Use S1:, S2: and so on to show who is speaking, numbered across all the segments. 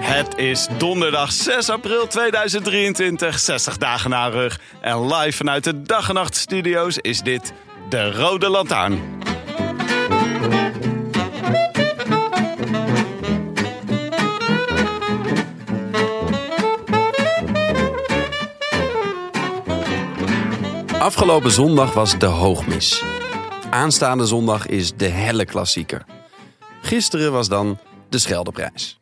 S1: Het is donderdag 6 april 2023, 60 dagen na rug. En live vanuit de dag en nacht studio's is dit de Rode Lantaarn.
S2: Afgelopen zondag was de hoogmis. Aanstaande zondag is de helle klassieker. Gisteren was dan de Scheldeprijs.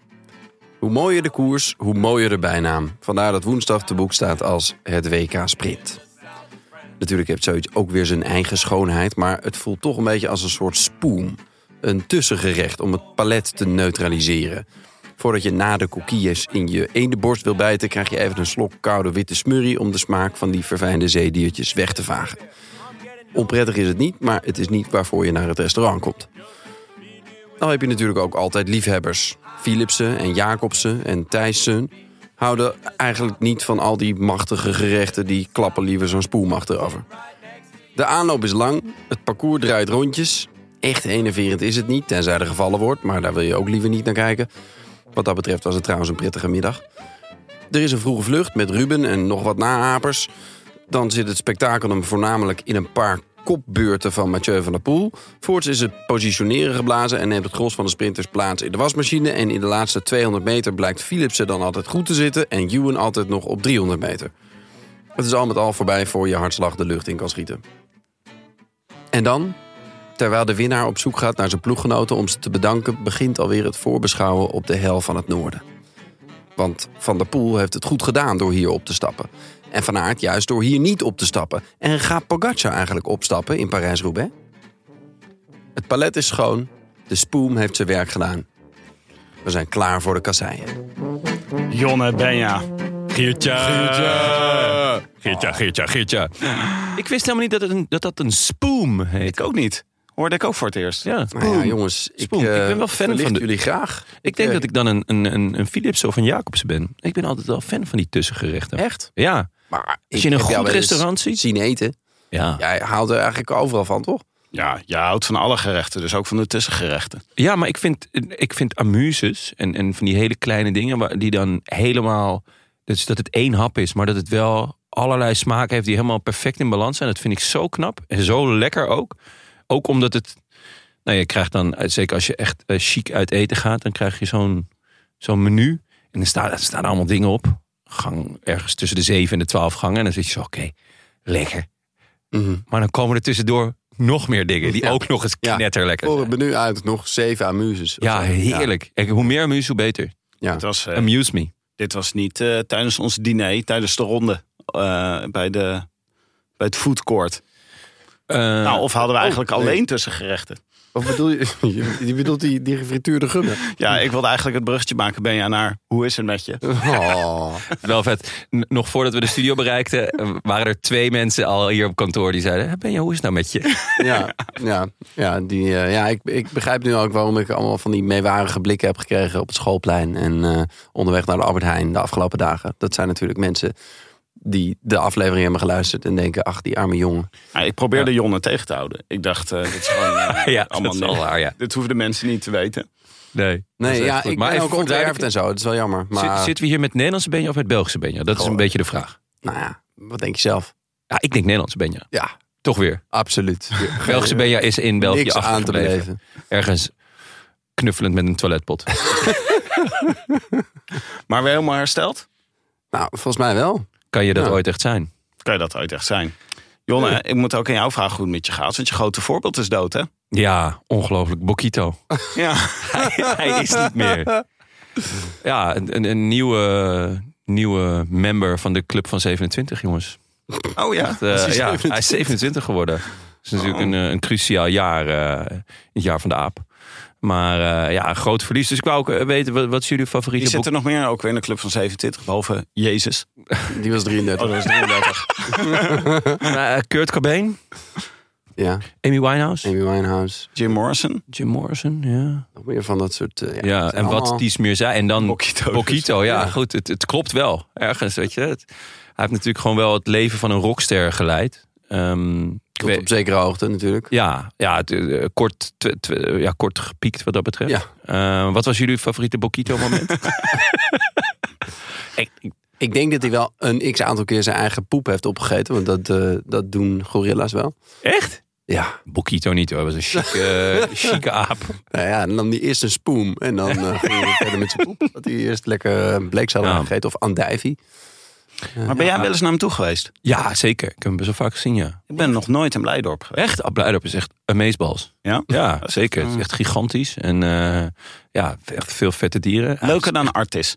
S2: Hoe mooier de koers, hoe mooier de bijnaam. Vandaar dat woensdag te boek staat als het WK Sprint. Natuurlijk heeft zoiets ook weer zijn eigen schoonheid, maar het voelt toch een beetje als een soort spoem. Een tussengerecht om het palet te neutraliseren. Voordat je na de coquilles in je eendenborst wil bijten, krijg je even een slok koude witte smurrie om de smaak van die verfijnde zeediertjes weg te vagen. Onprettig is het niet, maar het is niet waarvoor je naar het restaurant komt. Nou heb je natuurlijk ook altijd liefhebbers. Philipsen en Jacobsen en Thijssen houden eigenlijk niet van al die machtige gerechten die klappen liever zo'n spoelmacht erover. De aanloop is lang, het parcours draait rondjes. Echt enerverend is het niet, tenzij er gevallen wordt, maar daar wil je ook liever niet naar kijken. Wat dat betreft was het trouwens een prettige middag. Er is een vroege vlucht met Ruben en nog wat naapers. Dan zit het spektakel hem voornamelijk in een paar kopbeurten van Mathieu van der Poel. Voorts is het positioneren geblazen en neemt het gros van de sprinters plaats in de wasmachine. En in de laatste 200 meter blijkt Philipsen dan altijd goed te zitten en Ewan altijd nog op 300 meter. Het is al met al voorbij voor je hartslag de lucht in kan schieten. En dan, terwijl de winnaar op zoek gaat naar zijn ploeggenoten om ze te bedanken, begint alweer het voorbeschouwen op de hel van het noorden. Want Van der Poel heeft het goed gedaan door hier op te stappen. En Van Aert juist door hier niet op te stappen. En gaat Pogacar eigenlijk opstappen in Parijs-Roubaix? Het palet is schoon. De spoem heeft zijn werk gedaan. We zijn klaar voor de kasseien.
S1: Jonne Benja.
S3: Geertje.
S1: Geertje.
S3: Geertje, Geertje, Geertje. Ik wist helemaal niet dat het een, dat, dat een spoem heet.
S1: Ik ook niet. Hoorde ik ook voor het eerst.
S3: Ja,
S2: Nou ja, jongens, ik,
S3: Spoem. Ik
S2: eh,
S3: ben wel fan van
S2: verlicht
S3: de-
S2: jullie graag. eh,
S3: Ik denk dat ik dan een, een, een, een Philips of een Jacobsen ben. Ik ben altijd wel fan van die tussengerechten.
S2: Echt?
S3: Ja.
S2: Maar
S3: Als je in een
S2: heb jou wel
S3: goed
S2: eens
S3: restaurant ziet.
S2: Zien eten.
S3: Ja.
S2: Jij haalt er eigenlijk overal van, toch?
S1: Ja, je houdt van alle gerechten, dus ook van de tussengerechten.
S3: ja, maar ik vind, ik vind amuses en, en van die hele kleine dingen waar- die dan helemaal... Dus dat het één hap is, maar dat het wel allerlei smaken heeft die helemaal perfect in balans zijn. Dat vind ik zo knap en zo lekker ook. Ook omdat het... Nou, je krijgt dan, eh, zeker als je echt eh, chic uit eten gaat, dan krijg je zo'n zo'n menu. En dan staan, er staan allemaal dingen op. Gang ergens tussen de zeven en de twaalf gangen. En dan zit je zo, oké, lekker. Maar dan komen er tussendoor nog meer dingen die
S2: Ja.
S3: ook nog eens
S2: Ja.
S3: knetterlekker
S2: Voor
S3: zijn.
S2: het menu uit nog zeven amuses. of
S3: Ja,
S2: zo.
S3: heerlijk. Kijk, hoe meer amuse, hoe beter.
S1: Het was, eh,
S3: Amuse me.
S1: dit was niet eh, tijdens ons diner, tijdens de ronde eh, bij, de, bij het foodcourt.
S3: Eh,
S1: nou, of hadden we eigenlijk
S2: nee.
S1: alleen tussengerechten?
S2: Wat bedoel je? Je je bedoelt die, die gefrituurde gummen.
S1: Ja, ik wilde eigenlijk het bruggetje maken, Benja, naar hoe is het met je?
S2: Oh.
S3: wel vet. N- nog voordat we de studio bereikten, eh, waren er twee mensen al hier op kantoor die zeiden: "Hé, Benja, hoe is het nou met je?
S2: Ja, ja, ja, die, eh, ja ik, ik begrijp nu ook waarom ik allemaal van die meewarige blikken heb gekregen op het schoolplein en eh, onderweg naar de Albert Heijn de afgelopen dagen. Dat zijn natuurlijk mensen die de aflevering hebben geluisterd en denken, ach, die arme jongen.
S1: Ja, Ah, ik probeerde Jonne tegen te houden. Ik dacht, eh, dit is gewoon eh,
S3: ja,
S1: allemaal
S3: dat is al
S1: nep.
S3: waar, ja.
S1: Dit hoeven de mensen niet te weten.
S3: Nee. dat is
S2: Nee,
S3: echt
S2: ja,
S3: goed.
S2: ik
S3: Maar
S2: ben
S3: even
S2: ook
S3: voor
S2: onterfd en
S3: duidelijk-
S2: zo. Dat is wel jammer. Maar,
S3: Zit- Zitten we hier met Nederlandse Benja of met Belgische Benja? Dat is een
S2: Goh.
S3: beetje de vraag.
S2: nou ja, wat denk je zelf?
S3: Ja, ik denk Nederlandse Benja.
S2: Ja,
S3: Toch weer.
S2: absoluut.
S3: Belgische Benja is in België
S2: Niks aan te
S3: achtergebleven.
S2: beleven.
S3: Ergens knuffelend met een toiletpot.
S1: Maar weer helemaal hersteld?
S2: Nou, volgens mij wel.
S3: Kan je dat
S2: Ja.
S3: ooit echt zijn?
S1: Kan je dat ooit echt zijn? Jonne, ik moet ook aan jou vragen hoe het met je gaat. Want je grote voorbeeld is dood, hè?
S3: Ja, ongelooflijk. Bokito.
S1: Ja.
S3: Hij is niet meer. Ja, een, een- een nieuwe, nieuwe member van de club van 27, jongens.
S1: Oh ja.
S3: Eh, ja, hij is 27 geworden. Dat is natuurlijk een, eh, een cruciaal jaar, eh, het jaar van de aap. Maar eh, ja, een groot verlies. Dus ik wou ook eh, weten, wat, wat is jullie favoriete
S1: Die
S3: boek?
S1: zit er nog meer ook weer in de club van 27, behalve Jezus.
S2: Die was 33.
S1: Oh, dat is 33.
S3: Eh, Kurt Cobain,
S2: Ja,
S3: Amy Winehouse,
S2: Amy Winehouse.
S1: Jim Morrison.
S3: Jim Morrison, ja.
S2: Nog meer van dat soort... eh, ja,
S3: Ja,
S2: het zijn
S3: en wat
S2: allemaal-
S3: die meer zei. En dan
S1: Bokito dus.
S3: Bokito, ja.
S2: Ja.
S3: Goed, het, het klopt wel. Ergens, weet je. Het- hij heeft natuurlijk gewoon wel het leven van een rockster geleid. Ehm, ik
S2: Tot
S3: weet-
S2: op zekere hoogte natuurlijk.
S3: ja, ja, het, eh, kort, tw- tw- eh, ja, kort gepiekt wat dat betreft.
S2: Ja.
S3: Eh, wat was jullie favoriete Bokito-moment? Ik- ik-
S2: Ik denk dat hij wel een x-aantal keer zijn eigen poep heeft opgegeten. Want dat, eh, dat doen gorilla's wel.
S3: Echt?
S2: Ja.
S3: Bokito niet hoor, hij was een chique, eh, chique aap.
S2: Nou ja, dan nam hij eerst een spoem. En dan eh, ging hij verder met zijn poep. Dat hij eerst lekker eh, bleekselderij
S3: Ja.
S2: gegeten. Of andijvie.
S1: Maar ben jij wel eens naar hem toe geweest?
S3: Ja, zeker. Ik heb hem best wel vaak gezien, ja.
S1: Ik ben nog nooit in Blijdorp geweest.
S3: Echt, Blijdorp is echt amazeballs.
S1: Ja?
S3: Ja, zeker. Het is echt gigantisch. En eh, ja, echt veel vette dieren. Ja,
S1: Leuker dan Artis.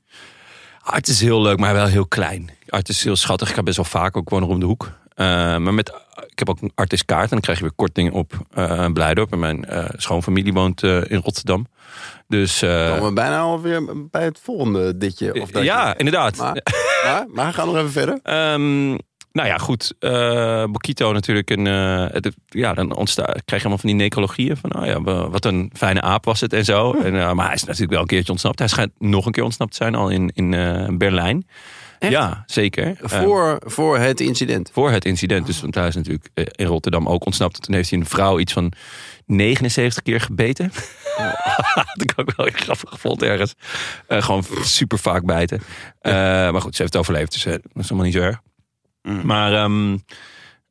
S3: Art is heel leuk, maar wel heel klein. Art is heel schattig. Ik ga best wel vaak ook gewoon om de hoek. Eh, maar met, ik heb ook een artistkaart en dan krijg je weer korting op eh Blijdorp. En mijn eh, schoonfamilie woont eh, in Rotterdam. Dus eh,
S2: Komen we bijna alweer bij het volgende ditje. Oh, Of datje.
S3: ja, inderdaad.
S2: Maar, maar, maar we gaan nog even verder.
S3: Ehm, nou ja, goed. eh Bokito natuurlijk. Een, eh, het- ja, dan ontsta- krijg je allemaal van die necrologieën. Van, oh ja, wa- wat een fijne aap was het en zo.
S2: Hm.
S3: En, eh, maar hij is natuurlijk wel een keertje ontsnapt. Hij schijnt nog een keer ontsnapt te zijn, al in, in eh, Berlijn. Ja, zeker. Eh,
S2: Voor, voor het incident.
S3: voor het incident. Dus want hij is natuurlijk eh, in Rotterdam ook ontsnapt. Toen heeft hij een vrouw iets van 79 keer gebeten. Had ik ook wel heel grappig gevonden ergens. Eh, gewoon super vaak bijten. Eh, maar goed, ze heeft het overleefd. Dus eh, dat is allemaal niet zo erg. Maar ehm,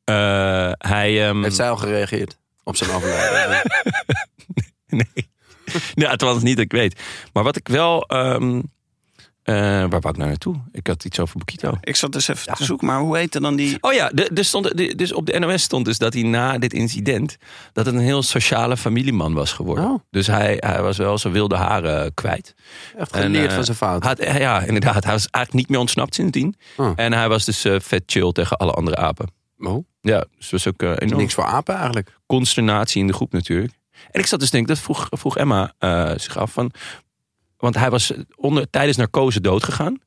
S3: eh, hij... ehm,
S2: Heeft zij al gereageerd op zijn overlijden?
S3: Nee. ja, het was niet dat ik weet. Maar wat ik wel... ehm, eh, waar wou ik nou naartoe? Ik had iets over Bokito.
S1: Ik zat dus even te zoeken, maar hoe heette dan die...
S3: Oh ja, de- er stond, de- dus op de NOS stond dus dat hij na dit incident... dat het een heel sociale familieman was geworden.
S2: Oh.
S3: Dus hij, hij was wel zijn wilde haren kwijt.
S2: Echt
S3: En,
S2: geleerd
S3: eh,
S2: van zijn fout.
S3: Had, ja, inderdaad. Hij was eigenlijk niet meer ontsnapt sindsdien.
S2: Oh.
S3: En hij was dus eh, vet chill tegen alle andere apen.
S2: Oh,
S3: Ja, dus het was ook eh, enorm
S2: niks voor apen eigenlijk.
S3: consternatie in de groep natuurlijk. En ik zat dus te denken, dat vroeg, vroeg Emma eh, zich af van... Want hij was onder, tijdens narcose doodgegaan.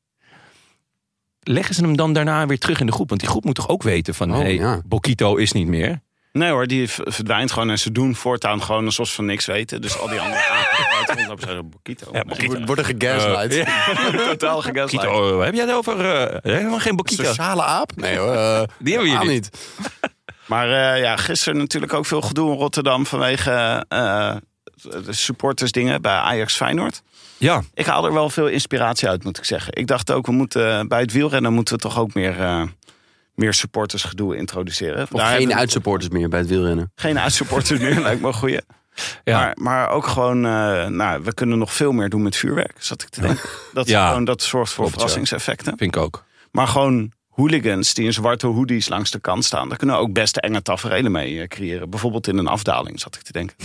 S3: Leggen ze hem dan daarna weer terug in de groep? Want die groep moet toch ook weten van...
S2: Oh,
S3: hey,
S2: ja.
S3: Bokito is niet meer.
S1: Nee hoor, die v- verdwijnt gewoon en ze doen voortaan gewoon alsof ze van niks weten. Dus al die andere apen die rondlopen zijn Bokito. Ja,
S2: Word- Worden
S3: Eh,
S2: gegaslight.
S1: Totaal gegaslight.
S3: Bokito, waar heb jij het over? Eh, helemaal geen Bokito.
S2: Sociale aap? Nee hoor. eh,
S3: Die hebben
S2: helemaal
S3: jullie.
S2: niet.
S1: Maar eh, ja, gisteren natuurlijk ook veel gedoe in Rotterdam vanwege eh, eh, de supportersdingen bij Ajax Feyenoord.
S3: Ja,
S1: Ik haal er wel veel inspiratie uit, moet ik zeggen. Ik dacht ook, we moeten, eh, bij het wielrennen moeten we toch ook meer, eh meer supportersgedoe introduceren.
S2: Of
S1: Daar
S2: geen
S1: hebben-
S2: uitsupporters meer bij het wielrennen.
S1: geen uitsupporters meer, lijkt me een goeie.
S3: Ja.
S1: Maar, maar ook gewoon, eh, nou, we kunnen nog veel meer doen met vuurwerk, zat ik te denken. Dat, is
S3: Ja.
S1: gewoon, dat zorgt voor
S3: Klopt, ja.
S1: verrassingseffecten.
S3: vind ik ook.
S1: Maar gewoon hooligans die in zwarte hoodies langs de kant staan. Daar kunnen we ook best enge tafereelen mee eh, creëren. Bijvoorbeeld in een afdaling, zat ik te denken.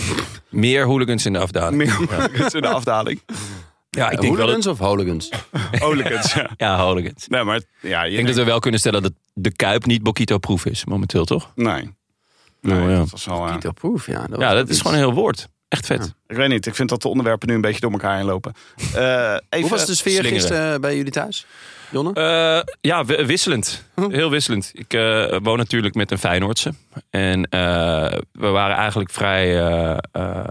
S3: Meer hooligans in de afdaling.
S1: Meer hooligans in de afdaling.
S3: Ja, ik denk wel... dat-
S2: Hooligans of hooligans?
S1: Hooligans, ja.
S3: Ja, hooligans.
S1: Nee, maar ja, je
S3: Ik denk dat we wel kunnen stellen dat de Kuip niet Bokito-proof is momenteel, toch?
S1: Nee. Nee,
S3: Oh, ja.
S1: dat was wel, eh,
S2: Keto proof, ja. Dat
S3: Ja,
S2: was
S3: dat
S2: ook
S3: is
S2: iets.
S3: gewoon een heel woord. Echt vet.
S1: ik weet niet, ik vind dat de onderwerpen nu een beetje door elkaar heen lopen. Eh, even,
S2: Hoe was de sfeer
S3: slingeren.
S2: gisteren eh, bij jullie thuis? Jonne?
S3: Eh, ja, wi- wisselend. Heel wisselend. Ik eh, woon natuurlijk met een Feyenoordse. En eh, we waren eigenlijk vrij eh, eh,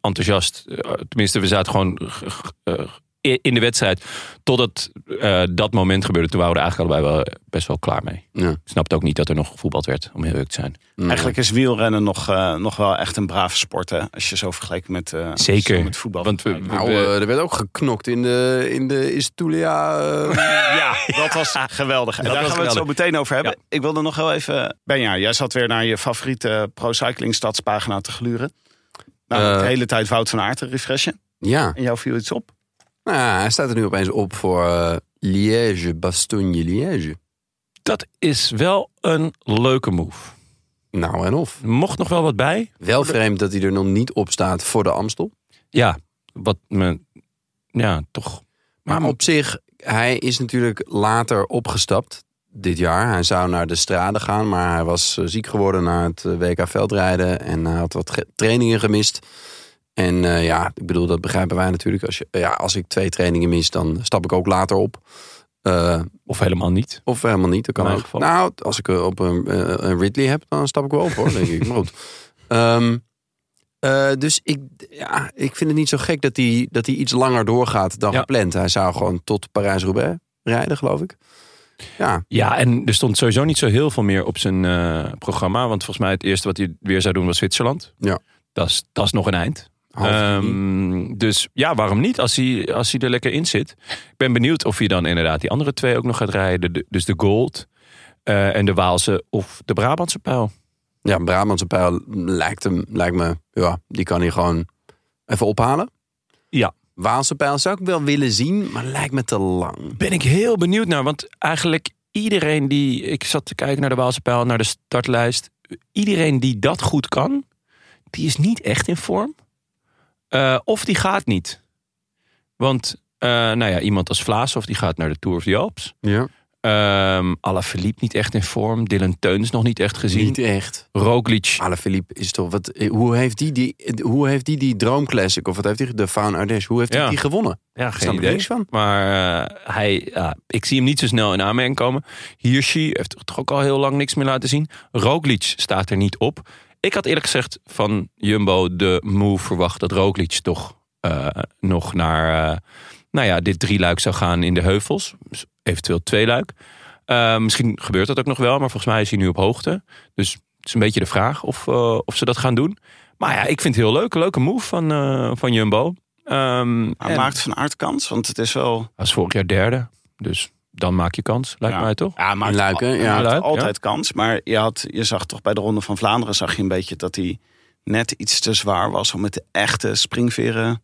S3: enthousiast. Eh, tenminste, we zaten gewoon g- g- eh, in in de wedstrijd. Totdat eh, dat moment gebeurde. Toen waren we er eigenlijk allebei wel eh, best wel klaar mee.
S2: Ja. nou
S3: Ik snapte ook niet dat er nog voetbald werd, om heel eerlijk te zijn.
S1: Eigenlijk is wielrennen nog, eh, nog wel echt een brave sport, hè? Als je zo vergelijkt met, eh, als je
S3: Zeker.
S1: zo met voetbal.
S3: Want we, we-
S2: Nou,
S3: we-
S2: eh, er werd ook geknokt in de, in de Istulia. eh,
S1: ja, dat was geweldig. En daar
S3: was
S1: gaan we het zo
S3: geweldig.
S1: meteen over hebben. Ik wilde nog heel even... Benja, jij zat weer naar je favoriete Pro Cycling Stadspagina te gluren. Nou, de
S2: Eh.
S1: hele tijd Wout van Aert te refreshen.
S2: ja.
S1: En jou viel iets op.
S2: Nou, ja, hij staat er nu opeens op voor eh, Liège, Bastogne, Liège.
S3: dat is wel een leuke move.
S2: Nou en of.
S3: Er mocht nog wel wat bij.
S2: Wel vreemd dat hij er nog niet op staat voor de Amstel.
S3: Ja, wat me ja, toch.
S2: Maar
S3: Maar
S2: op zich, hij is natuurlijk later opgestapt dit jaar. Hij zou naar de strade gaan, maar hij was eh, ziek geworden na het eh, WK veldrijden. En hij had wat ge- trainingen gemist. En eh, ja, ik bedoel, dat begrijpen wij natuurlijk. Als, je, ja, als ik twee trainingen mis, dan stap ik ook later op. Eh,
S3: of helemaal niet.
S2: of helemaal niet, dat kan
S3: In
S2: ook.
S3: mijn geval.
S2: Nou, als ik eh, op een, eh, een Ridley heb, dan stap ik wel op hoor, denk ik. Maar goed. Ehm, eh, dus ik, ja, ik vind het niet zo gek dat hij dat hij iets langer doorgaat dan
S3: Ja.
S2: gepland. Hij zou gewoon tot Parijs-Roubaix rijden, geloof ik. Ja,
S3: Ja, en er stond sowieso niet zo heel veel meer op zijn eh, programma. Want volgens mij het eerste wat hij weer zou doen was Zwitserland.
S2: Ja.
S3: Dat is, dat is nog een eind.
S2: half juni.
S3: Ehm, dus ja, waarom niet als hij, als hij er lekker in zit? Ik ben benieuwd of hij dan inderdaad die andere twee ook nog gaat rijden. De- dus de Gold eh, en de Waalse of de Brabantse pijl.
S2: Ja, Brabantse pijl lijkt, hem, lijkt me, ja, die kan hij gewoon even ophalen.
S3: Ja.
S2: Waalse pijl zou ik wel willen zien, maar lijkt me te lang.
S3: Ben ik heel benieuwd naar, want eigenlijk iedereen die... Ik zat te kijken naar de Waalse pijl, naar de startlijst. Iedereen die dat goed kan, die is niet echt in vorm. Eh, of die gaat niet. Want eh, nou ja, iemand als Vlaashoff, die gaat naar de Tour of the Alps.
S2: Ja.
S3: Ehm Alaphilippe niet echt in vorm. Dylan Teuns nog niet echt gezien.
S2: Niet echt.
S3: Roglic.
S2: Alaphilippe is toch wat. eh, Hoe heeft die die, hoe heeft die, die Droomclassic of wat heeft hij de Faun Ardèche? Hoe heeft hij
S3: Ja.
S2: die gewonnen?
S3: Ja,
S2: Snap
S3: geen
S2: ik
S3: idee.
S2: niks van.
S3: Maar eh, hij, ja, ik zie hem niet zo snel in aanmerking komen. Hirschi heeft toch ook al heel lang niks meer laten zien. Roglic staat er niet op. Ik had eerlijk gezegd van Jumbo de move verwacht dat Roglic toch eh, nog naar eh, nou ja, dit drieluik zou gaan in de heuvels. Dus eventueel tweeluik. Eh, misschien gebeurt dat ook nog wel, maar volgens mij is hij nu op hoogte. Dus het is een beetje de vraag of, eh, of ze dat gaan doen. Maar ja, ik vind het heel leuk. Leuke move van, eh, van Jumbo. Ehm,
S1: Maar
S3: en-
S1: maakt Van Aert kans? Want het is wel...
S3: hij is vorig jaar derde. Dus dan maak je kans, lijkt
S1: Ja.
S3: mij toch?
S1: Ja,
S2: In Luiken, ja.
S1: Hij
S3: Luik,
S1: maakt
S3: ja.
S1: altijd kans. Maar je, had, je zag toch bij de Ronde van Vlaanderen... zag je een beetje dat hij net iets te zwaar was... om met de echte springveren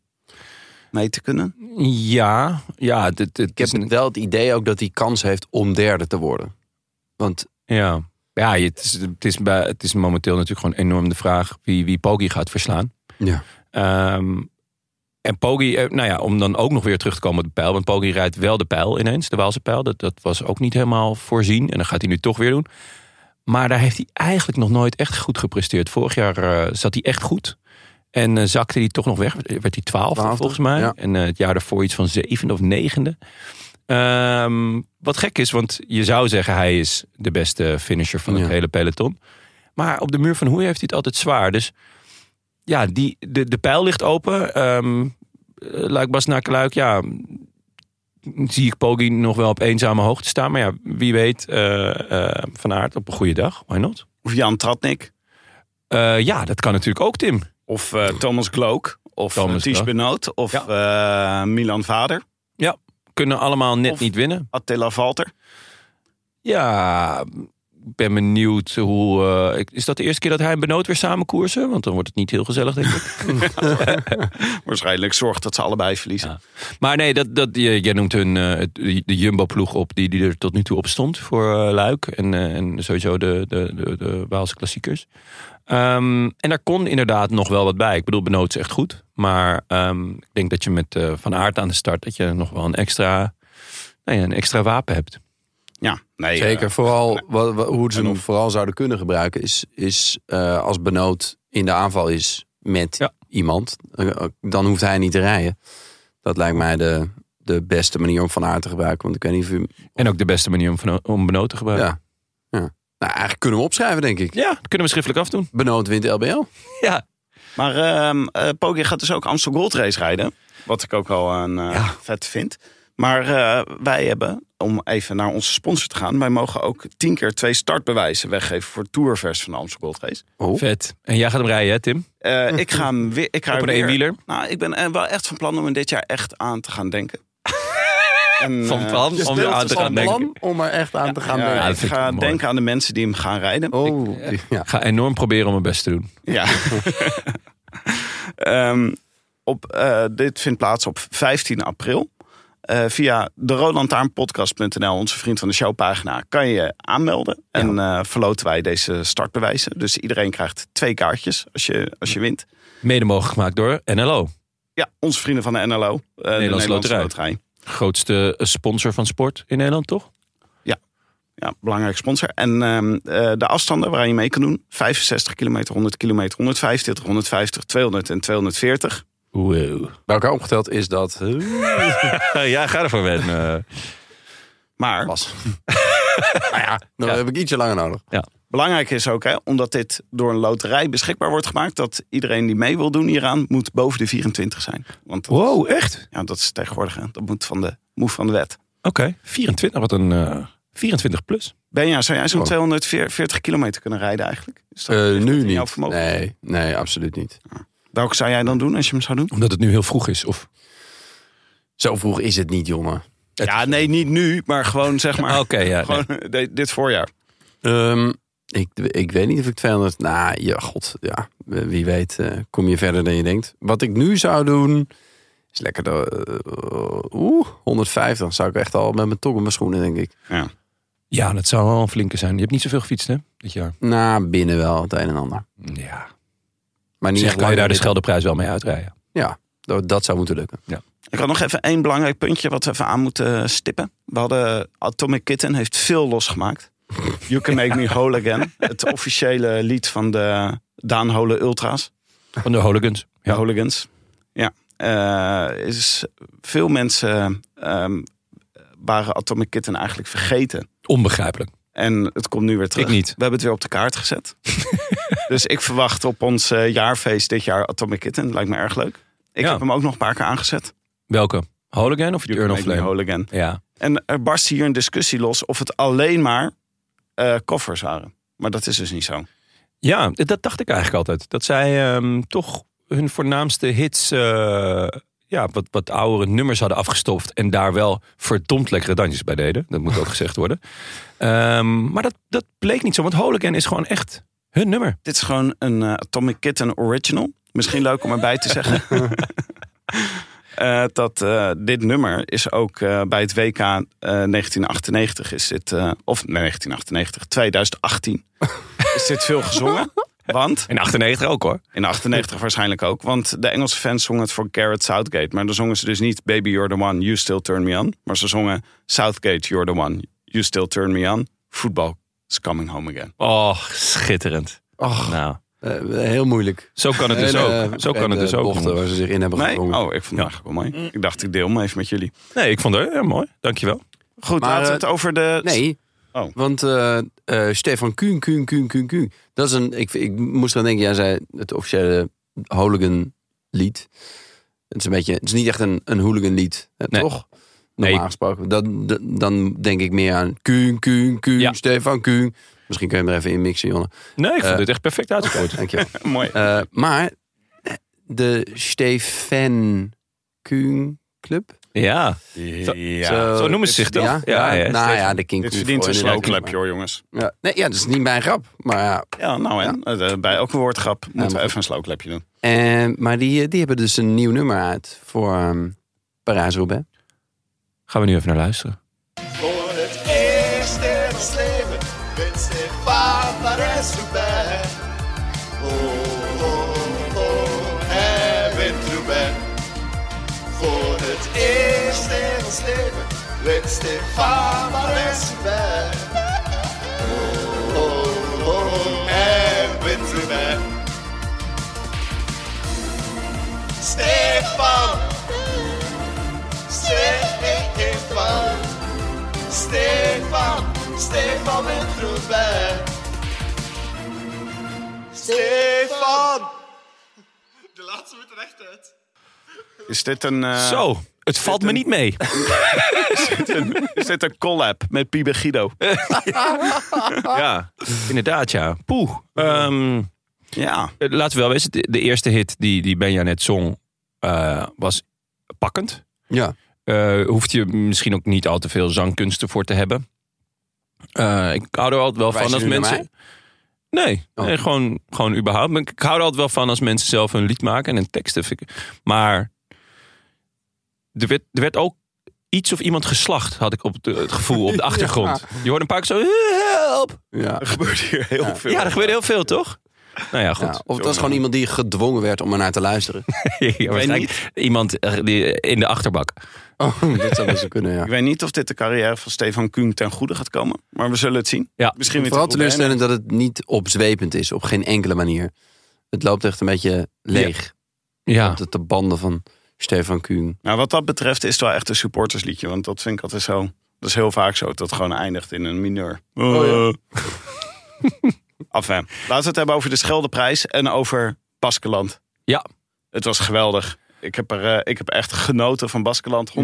S1: mee te kunnen.
S3: Ja, ja. Dit, dit
S2: Ik heb
S3: is een-
S2: wel het idee ook dat hij kans heeft om derde te worden. Want
S3: ja. ja je- het, is, het, is bij, het is momenteel natuurlijk gewoon enorm de vraag wie, wie Poggi gaat verslaan.
S2: ja.
S3: Ehm, en Poggi, eh, nou ja, om dan ook nog weer terug te komen op de pijl. Want Poggi rijdt wel de pijl ineens, de Waalse pijl. Dat, dat was ook niet helemaal voorzien. En dat gaat hij nu toch weer doen. Maar daar heeft hij eigenlijk nog nooit echt goed gepresteerd. Vorig jaar eh, zat hij echt goed. En eh, zakte hij toch nog weg. Werd hij twaalfde
S2: Twaalfde,
S3: volgens mij.
S2: ja.
S3: En eh, het jaar daarvoor iets van zevende of negende. Ehm, wat gek is, want je zou zeggen hij is de beste finisher van het
S2: Ja.
S3: hele peloton. Maar op de muur van Hoei heeft hij het altijd zwaar. Dus ja, die, de, de pijl ligt open. Ehm Luik Bas Nakeluik, ja, zie ik Poggi nog wel op eenzame hoogte staan. Maar ja, wie weet, eh, eh, Van Aert op een goede dag, why not?
S1: Of Jan Tratnik.
S3: Eh, ja, dat kan natuurlijk ook, Tim.
S1: Of eh, Thomas Gloak. Of
S3: Thomas
S1: eh, Ties
S3: Gloak.
S1: Benoot. Of eh, Milan Vader.
S3: Kunnen allemaal net
S1: Of-
S3: niet winnen.
S1: Attila Valter.
S3: Ja, ik ben benieuwd hoe... eh, ik- is dat de eerste keer dat hij en Benoot weer samen koersen? Want dan wordt het niet heel gezellig, denk ik.
S1: Waarschijnlijk zorgt dat ze allebei verliezen.
S3: Ja. Maar nee, dat, dat, je- jij noemt hun eh, het- de Jumbo-ploeg op die, die er tot nu toe op stond voor eh, Luik. En, eh, en sowieso de, de, de, de Waalse klassiekers. Ehm, en daar kon inderdaad nog wel wat bij. Ik bedoel, Benoot is echt goed. Maar ehm, ik denk dat je met eh, Van Aert aan de start... dat je nog wel een extra, nou ja, een extra wapen hebt.
S1: Ja, nee,
S2: Zeker,
S1: eh,
S2: vooral wat, wat- hoe ze
S1: En
S2: hem
S1: of-
S2: vooral zouden kunnen gebruiken is, is eh, als Benoot in de aanval is met
S3: Ja.
S2: iemand, eh, dan hoeft hij niet te rijden. Dat lijkt mij de, de beste manier om Van Aert te gebruiken. Want ik weet niet of u...
S3: En ook de beste manier om, Van- om Benoot te gebruiken. Ja.
S2: Ja. ja. Nou, eigenlijk kunnen we opschrijven, denk ik.
S3: dat kunnen we schriftelijk afdoen.
S2: Benoot wint LBL.
S3: Ja,
S1: Maar ehm eh, Poggi gaat dus ook Amstel Gold Race rijden. Wat ik ook al een eh, vet vind. Maar eh, wij hebben, om even naar onze sponsor te gaan... wij mogen ook tien keer twee startbewijzen weggeven... voor Tourvers van de Amstel Gold Race.
S3: vet. En jij gaat hem rijden, hè, Tim?
S1: Eh, ik ga hem weer... Ik ga
S3: Op
S1: er
S3: een
S1: weer-
S3: eenwieler?
S1: Nou, ik ben eh, wel echt van plan om hem dit jaar echt aan te gaan denken. En,
S3: Van
S1: eh,
S3: plan om er aan te gaan denken.
S2: om er echt aan te gaan
S1: ja,
S3: Ja, dat
S1: ik
S3: vind ik
S1: ga
S3: mooi.
S1: denken aan de mensen die hem gaan rijden.
S2: Oh, ja.
S3: Ik ga enorm proberen om mijn best te doen.
S1: Ja. Ehm, op, eh, dit vindt plaats op 15 april. Eh, via de roodlantaarnpodcast.nl, onze vriend van de showpagina, kan je je aanmelden. En eh verloten wij deze startbewijzen. Dus iedereen krijgt twee kaartjes als je, als je wint.
S3: Mede mogelijk gemaakt door NLO.
S1: Ja, onze vrienden van de NLO. eh, de Nederlandse
S3: Loterij.
S1: Loterij.
S3: Grootste eh, sponsor van sport in Nederland, toch?
S1: Ja, belangrijk sponsor. En ehm, eh, de afstanden waar je mee kan doen. 65 kilometer, 100 kilometer, 125, 150, 200 en 240.
S3: Wow.
S2: Bij elkaar opgeteld is dat... eh,
S3: ja, ga ervoor wen. eh.
S1: Maar
S2: Pas. nou ja, dan heb ik ietsje langer nodig.
S1: belangrijk is ook, hè, omdat dit door een loterij beschikbaar wordt gemaakt... dat iedereen die mee wil doen hieraan, moet boven de 24 zijn. Want dat,
S3: wow, echt?
S1: ja, dat is tegenwoordig, hè. dat moet van de moef van de wet.
S3: Oké, 24. Wat een eh, 24 plus.
S1: Benja, zou jij zo'n
S2: Oh.
S1: 240 kilometer kunnen rijden eigenlijk? Is dat-
S2: Eh,
S1: ligt dat
S2: nu
S1: in jouw
S2: niet.
S1: vermogen?
S2: Nee, nee, absoluut niet.
S1: Welke zou jij dan doen als je hem zou doen?
S3: Omdat het nu heel vroeg is. Of...
S2: Zo vroeg is het niet, jongen.
S1: ja, nee, niet nu, maar gewoon zeg maar.
S3: Oké, ja. nee.
S1: Gewoon eh, dit voorjaar.
S2: Ehm, ik, ik weet niet of ik 200... Nou, ja, god. Ja, wie weet eh, kom je verder dan je denkt. Wat ik nu zou doen... Is lekker... de- eh, Oeh, 150 zou ik echt al met mijn tong in mijn schoenen, denk ik.
S3: Ja, dat zou wel een flinke zijn. Je hebt niet zoveel gefietst, hè? Dit jaar.
S2: Nou, binnen wel het een en ander.
S3: Ja.
S2: Maar niet
S3: Zeg,
S2: echt
S3: kan je daar de
S2: langer
S3: Scheldeprijs wel mee uitrijden?
S2: dan dit. Ja, dat, dat zou moeten lukken.
S1: Ik had nog even één belangrijk puntje wat we even aan moeten stippen. We hadden Atomic Kitten heeft veel losgemaakt. You Can Make Me Whole Again. Het officiële lied van de Daan Hole Ultra's.
S3: Van de Hooligans.
S1: Ja.
S3: Ja.
S1: Hooligans. Ja. Eh, is veel mensen ehm, waren Atomic Kitten eigenlijk vergeten.
S3: Onbegrijpelijk.
S1: En het komt nu weer terug.
S3: Ik niet.
S1: We hebben het weer op de kaart gezet. dus ik verwacht op ons eh, jaarfeest dit jaar Atomic Kitten. Lijkt me erg leuk. Ik
S3: Ja.
S1: heb hem ook nog een paar keer aangezet.
S3: Welke? Holigan of Journal
S1: Make Me
S3: Flame?
S1: Whole Again.
S3: Ja.
S1: En er barst hier een discussie los of het alleen maar eh koffers waren. Maar dat is dus niet zo.
S3: ja, dat dat dacht ik eigenlijk altijd. Dat zij ehm, toch hun voornaamste hits, eh, ja, wat, wat oudere nummers hadden afgestoft. En daar wel verdomd lekkere dansjes bij deden. Dat moet ook gezegd worden. Ehm, maar dat, dat bleek niet zo, want Holigan is gewoon echt hun nummer.
S1: Dit is gewoon een eh, Atomic Kitten original. Misschien leuk om erbij te zeggen. Eh, dat eh, dit nummer is ook eh, bij het WK eh, 1998 is dit, eh, of nee, 1998, 2018 is dit veel gezongen. Want,
S3: En 98 ook hoor.
S1: in 98 waarschijnlijk ook, want de Engelse fans zongen het voor Garrett Southgate. Maar dan zongen ze dus niet Baby You're the One, You Still Turn Me On. Maar ze zongen Southgate You're the One, You Still Turn Me On. Voetbal is coming home again.
S3: Oh, schitterend.
S2: Och,
S3: Nou,
S2: eh, heel moeilijk.
S3: zo kan het dus
S2: Hele,
S3: ook. Zo
S2: eh,
S3: kan het dus ook.
S2: bochten
S3: jongens.
S2: waar ze zich in hebben
S1: Nee?
S2: gedrongen.
S1: Oh, ik vond het eigenlijk wel mooi. Ik dacht, ik deel hem even met jullie.
S3: Nee, ik vond het ja, mooi. Dankjewel.
S1: Goed,
S2: Maar,
S1: laten we
S2: eh,
S1: het over de...
S2: Nee.
S1: Oh.
S2: Want eh, eh, Stefan Kuhn, Kuhn, Kuhn, Kuhn, Kuhn. Dat is een. Ik, ik moest eraan denken, jij zei het officiële hooligan lied. Het is een beetje. Het is niet echt een, een hooligan lied, hè,
S3: Nee.
S2: toch?
S3: Nee.
S2: Normaal gesproken. Dan, dan- dan denk ik meer aan Kuhn, Kuhn, Kuhn,
S3: Ja.
S2: Stefan Kuhn. Misschien kun je hem er even in mixen, Jonne.
S3: Nee, ik vond
S2: Eh,
S3: dit echt perfect uitgevoerd.
S2: Dankjewel.
S1: Mooi.
S2: Eh maar de Stefan Kuhn Club. Eh,
S3: Ja, zo-
S1: ja.
S3: Ah, zo noemen ze zich toch?
S2: Ja,
S3: Ja,
S2: ja,
S3: ja,
S2: nou
S3: Stefan.
S2: ja, de King
S1: Dit
S2: Kuhn
S1: verdient een
S2: Floyd,
S1: slow
S2: inderdaad.
S1: clapje hoor, jongens.
S2: Ja. Nee, ja, dat is niet mijn grap. Maar ja,
S1: Ja, nou en. eh, Bij elke woordgrap moeten we even een slow clapje doen.
S2: En, maar die, eh, die hebben dus een nieuw nummer uit voor ehm Parijs-Roubaix.
S3: Gaan we nu even naar luisteren.
S4: Voor het eerst in ons leven wint Stefan Parijs-Roubaix. Oh, oh, oh, hij wint Roubaix. Voor het eerst in ons leven wint Stefan Parijs-Roubaix. Oh, oh, oh, hij wint Roubaix. Stefan, Stefan. Stefan, Stefan wint Roubaix. Stefan! De laatste moet er echt uit.
S1: Is dit een, eh,
S3: Zo, het valt me niet mee.
S1: is dit een collab met Pibe Guido?
S3: ja, inderdaad, ja. Poeh. Ehm,
S1: Ja.
S3: eh, laten we wel wezen, de, de eerste hit die, die Benja net zong eh, was pakkend.
S2: Ja.
S3: Eh hoeft je misschien ook niet al te veel zangkunsten voor te hebben. Eh, ik hou er altijd wel
S2: Wijs
S3: van
S2: je
S3: als
S2: nu naar
S3: mensen. Nee,
S2: Oh.
S3: nee, gewoon, gewoon überhaupt. Maar Ik ik hou er altijd wel van als mensen zelf een lied maken en een teksten. vind ik- Maar er werd, er werd ook iets of iemand geslacht, had ik op de- het gevoel, op de achtergrond. Je hoorde een paar keer zo, "Eh, help.
S2: Ja.
S1: Er gebeurt hier heel veel.
S3: Ja, er gebeurde heel veel, toch? Nou ja, goed.
S2: Ja, of het was gewoon iemand die gedwongen werd om ernaar te luisteren.
S3: Ja, waarschijnlijk iemand eh, die, in de achterbak.
S2: Oh, dat zou best wel kunnen, ja.
S1: Ik weet niet of dit de carrière van Stefan Kuhn ten goede gaat komen. Maar we zullen het zien.
S3: Ja.
S1: Misschien weer
S2: Vooral
S1: te goed
S2: teleurstellend dat het niet opzwepend is, op geen enkele manier. Het loopt echt een beetje leeg.
S3: Ja,
S2: De, de banden van Stefan Kuhn.
S1: Nou, wat dat betreft is het wel echt een supportersliedje. Want dat vind ik altijd zo. Dat is heel vaak zo. Dat het gewoon eindigt in een mineur.
S3: Oh,
S1: Eh. Enfin, laten we het hebben over de Scheldeprijs en over Baskeland.
S3: Ja.
S1: Het was geweldig. Ik heb, er, eh, ik heb echt genoten van Baskeland. 100%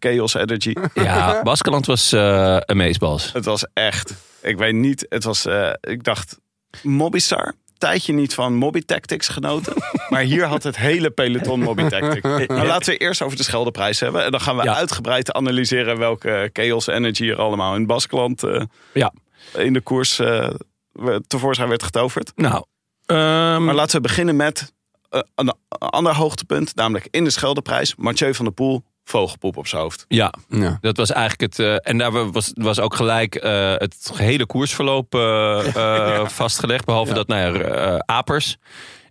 S1: chaos energy.
S3: ja Baskeland was eh een meesbals.
S1: Het was echt. Ik weet niet. Het was. eh, ik dacht. Mobbystar. Tijdje niet van Mobby Tactics genoten. Maar hier had het hele peloton Mobby Tactics. Maar laten we eerst over de Scheldeprijs hebben. En dan gaan we
S3: Ja.
S1: uitgebreid analyseren welke Chaos Energy er allemaal in Baskeland eh,
S3: Ja.
S1: in de koers eh, we- tevoorschijn werd getoverd.
S3: Nou, ehm,
S1: Maar laten we beginnen met eh, een ander hoogtepunt. Namelijk in de Scheldeprijs. Mathieu van der Poel, vogelpoep op zijn hoofd.
S3: ja,
S2: Ja.
S3: dat was eigenlijk het. eh, en daar was, was ook gelijk eh, het hele koersverloop eh, eh, vastgelegd. Behalve dat nou ja, eh, Apers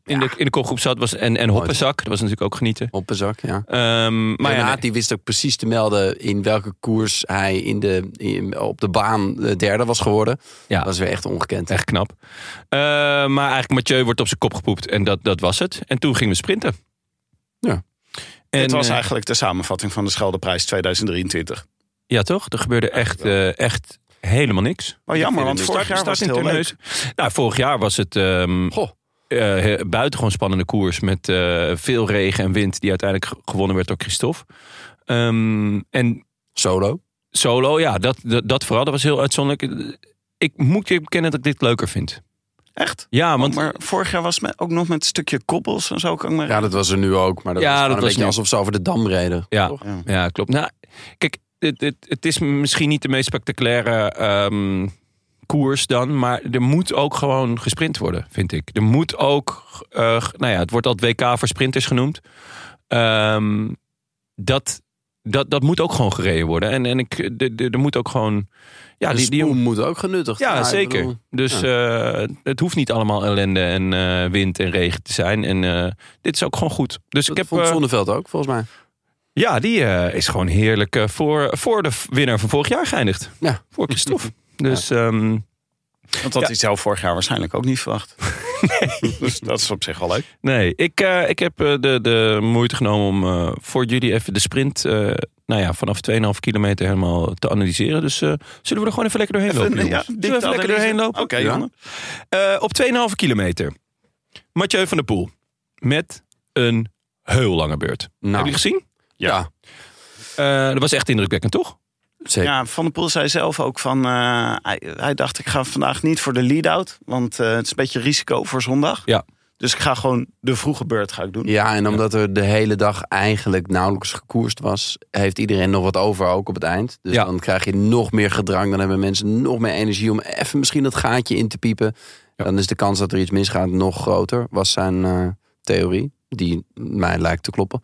S3: in, de, in de kopgroep zat was, en, en Hoppenzak. Dat was natuurlijk ook genieten.
S2: Op een zak, ja.
S3: Ehm, maar ja,
S2: Renaat,
S3: nee.
S2: die wist ook precies te melden in welke koers hij in de, in- op de baan eh, derde was geworden.
S3: Ja.
S2: Dat is weer echt ongekend.
S3: Echt knap. Eh, maar eigenlijk Mathieu wordt op zijn kop gepoept. En dat, dat was het. En toen gingen we sprinten.
S2: Ja.
S3: En,
S1: Dit was
S3: eh,
S1: eigenlijk de samenvatting van de Scheldeprijs 2023.
S3: ja, toch? Er gebeurde echt, eh, echt helemaal niks.
S1: Oh, jammer, want
S3: Start-
S1: vorig jaar
S3: start
S1: was het
S3: in
S1: heel leuk.
S3: Terneuzen. Nou, vorig jaar was het ehm
S2: Goh.
S3: eh, he- buitengewoon spannende koers. Met eh, veel regen en wind. Die uiteindelijk ge- gewonnen werd door Christophe. Ehm, en
S2: Solo.
S3: solo, ja, dat, dat, dat vooral. Dat was heel uitzonderlijk. Ik moet je bekennen dat ik dit leuker vind.
S1: Echt?
S3: Ja, want
S1: Want, Oh, maar vorig jaar was het ook nog met een stukje koppels en zo. Kan ik me
S2: Ja, dat was er nu ook. Maar dat
S3: Ja,
S2: was gewoon
S3: dat
S2: een
S3: was Ah,
S2: beetje
S3: nu.
S2: alsof ze over de dam reden.
S3: Ja,
S2: Toch?
S3: ja. klopt. Nou, kijk, het, het, het is misschien niet de meest spectaculaire ehm, koers dan, maar er moet ook gewoon gesprint worden, vind ik. Er moet ook, eh, nou ja, het wordt al het WK voor sprinters genoemd. Ehm, dat, dat, dat moet ook gewoon gereden worden. En, en ik, de- de- er moet ook gewoon, ja,
S2: De
S3: die, die
S2: spoen moet ook genuttigd
S3: ja,
S2: worden. ik
S3: zeker.
S2: bedoel,
S3: dus eh, het hoeft niet allemaal ellende en eh, wind en regen te zijn. En eh, dit is ook gewoon goed. Dus
S2: dat
S3: ik heb
S2: vond
S3: eh,
S2: Zonneveld ook, volgens mij.
S3: ja, die eh, is gewoon heerlijk eh, voor, voor de v- winnaar van vorig jaar geëindigd.
S2: Ja.
S3: Voor Christophe. Dus ehm,
S1: Want dat had hij zelf vorig jaar waarschijnlijk ook niet verwacht. dus dat is op zich wel leuk.
S3: nee, ik, eh, ik heb eh, de, de moeite genomen om eh, voor jullie even de sprint... eh, nou ja, vanaf 2,5 kilometer helemaal te analyseren. Dus eh, zullen we er gewoon even lekker doorheen lopen,
S1: ja,
S3: jongens?
S1: diepte
S3: zullen we even lekker
S1: analyse.
S3: doorheen lopen?
S1: Oké,
S2: Ja.
S1: Jonne.
S3: Eh, op 2,5 kilometer. Mathieu van der Poel. Met een heel lange beurt. Heb je
S2: Nou,
S3: die gezien?
S1: Ja.
S2: Ja.
S3: Eh, dat was echt indrukwekkend, toch?
S2: zeker.
S1: ja, Van der Poel zei zelf ook van... eh, hij, hij dacht, ik ga vandaag niet voor de lead-out. Want eh, het is een beetje risico voor zondag.
S3: Ja.
S1: Dus ik ga gewoon de vroege beurt ga ik doen.
S2: Ja, en omdat er de hele dag eigenlijk nauwelijks gekoerst was, heeft iedereen nog wat over ook op het eind. Dus
S3: Ja.
S2: dan krijg je nog meer gedrang. Dan hebben mensen nog meer energie om even misschien dat gaatje in te piepen. Dan is de kans dat er iets misgaat nog groter, was zijn eh, theorie. Die mij lijkt te kloppen.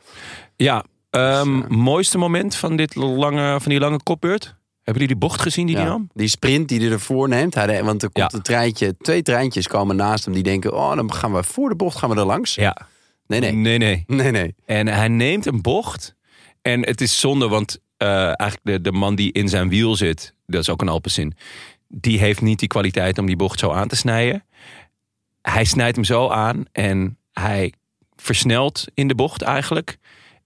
S3: Ja, ehm,
S2: Dus, eh,
S3: mooiste moment van, dit lange, van die lange kopbeurt. Hebben jullie die bocht gezien die
S2: Ja.
S3: die nam?
S2: Die sprint die hij ervoor neemt. Hij, de- want er komt
S3: Ja.
S2: een treintje, twee treintjes komen naast hem. Die denken, oh, dan gaan we voor de bocht gaan we er langs.
S3: Ja. Mm.
S2: Nee,
S3: Nee.
S2: nee.
S3: nee,
S2: Nee, nee.
S3: En hij neemt een bocht. En het is zonde, want eh, eigenlijk de, de man die in zijn wiel zit, dat is ook een Alpecin, die heeft niet die kwaliteit om die bocht zo aan te snijden. Hij snijdt hem zo aan en hij versnelt in de bocht eigenlijk.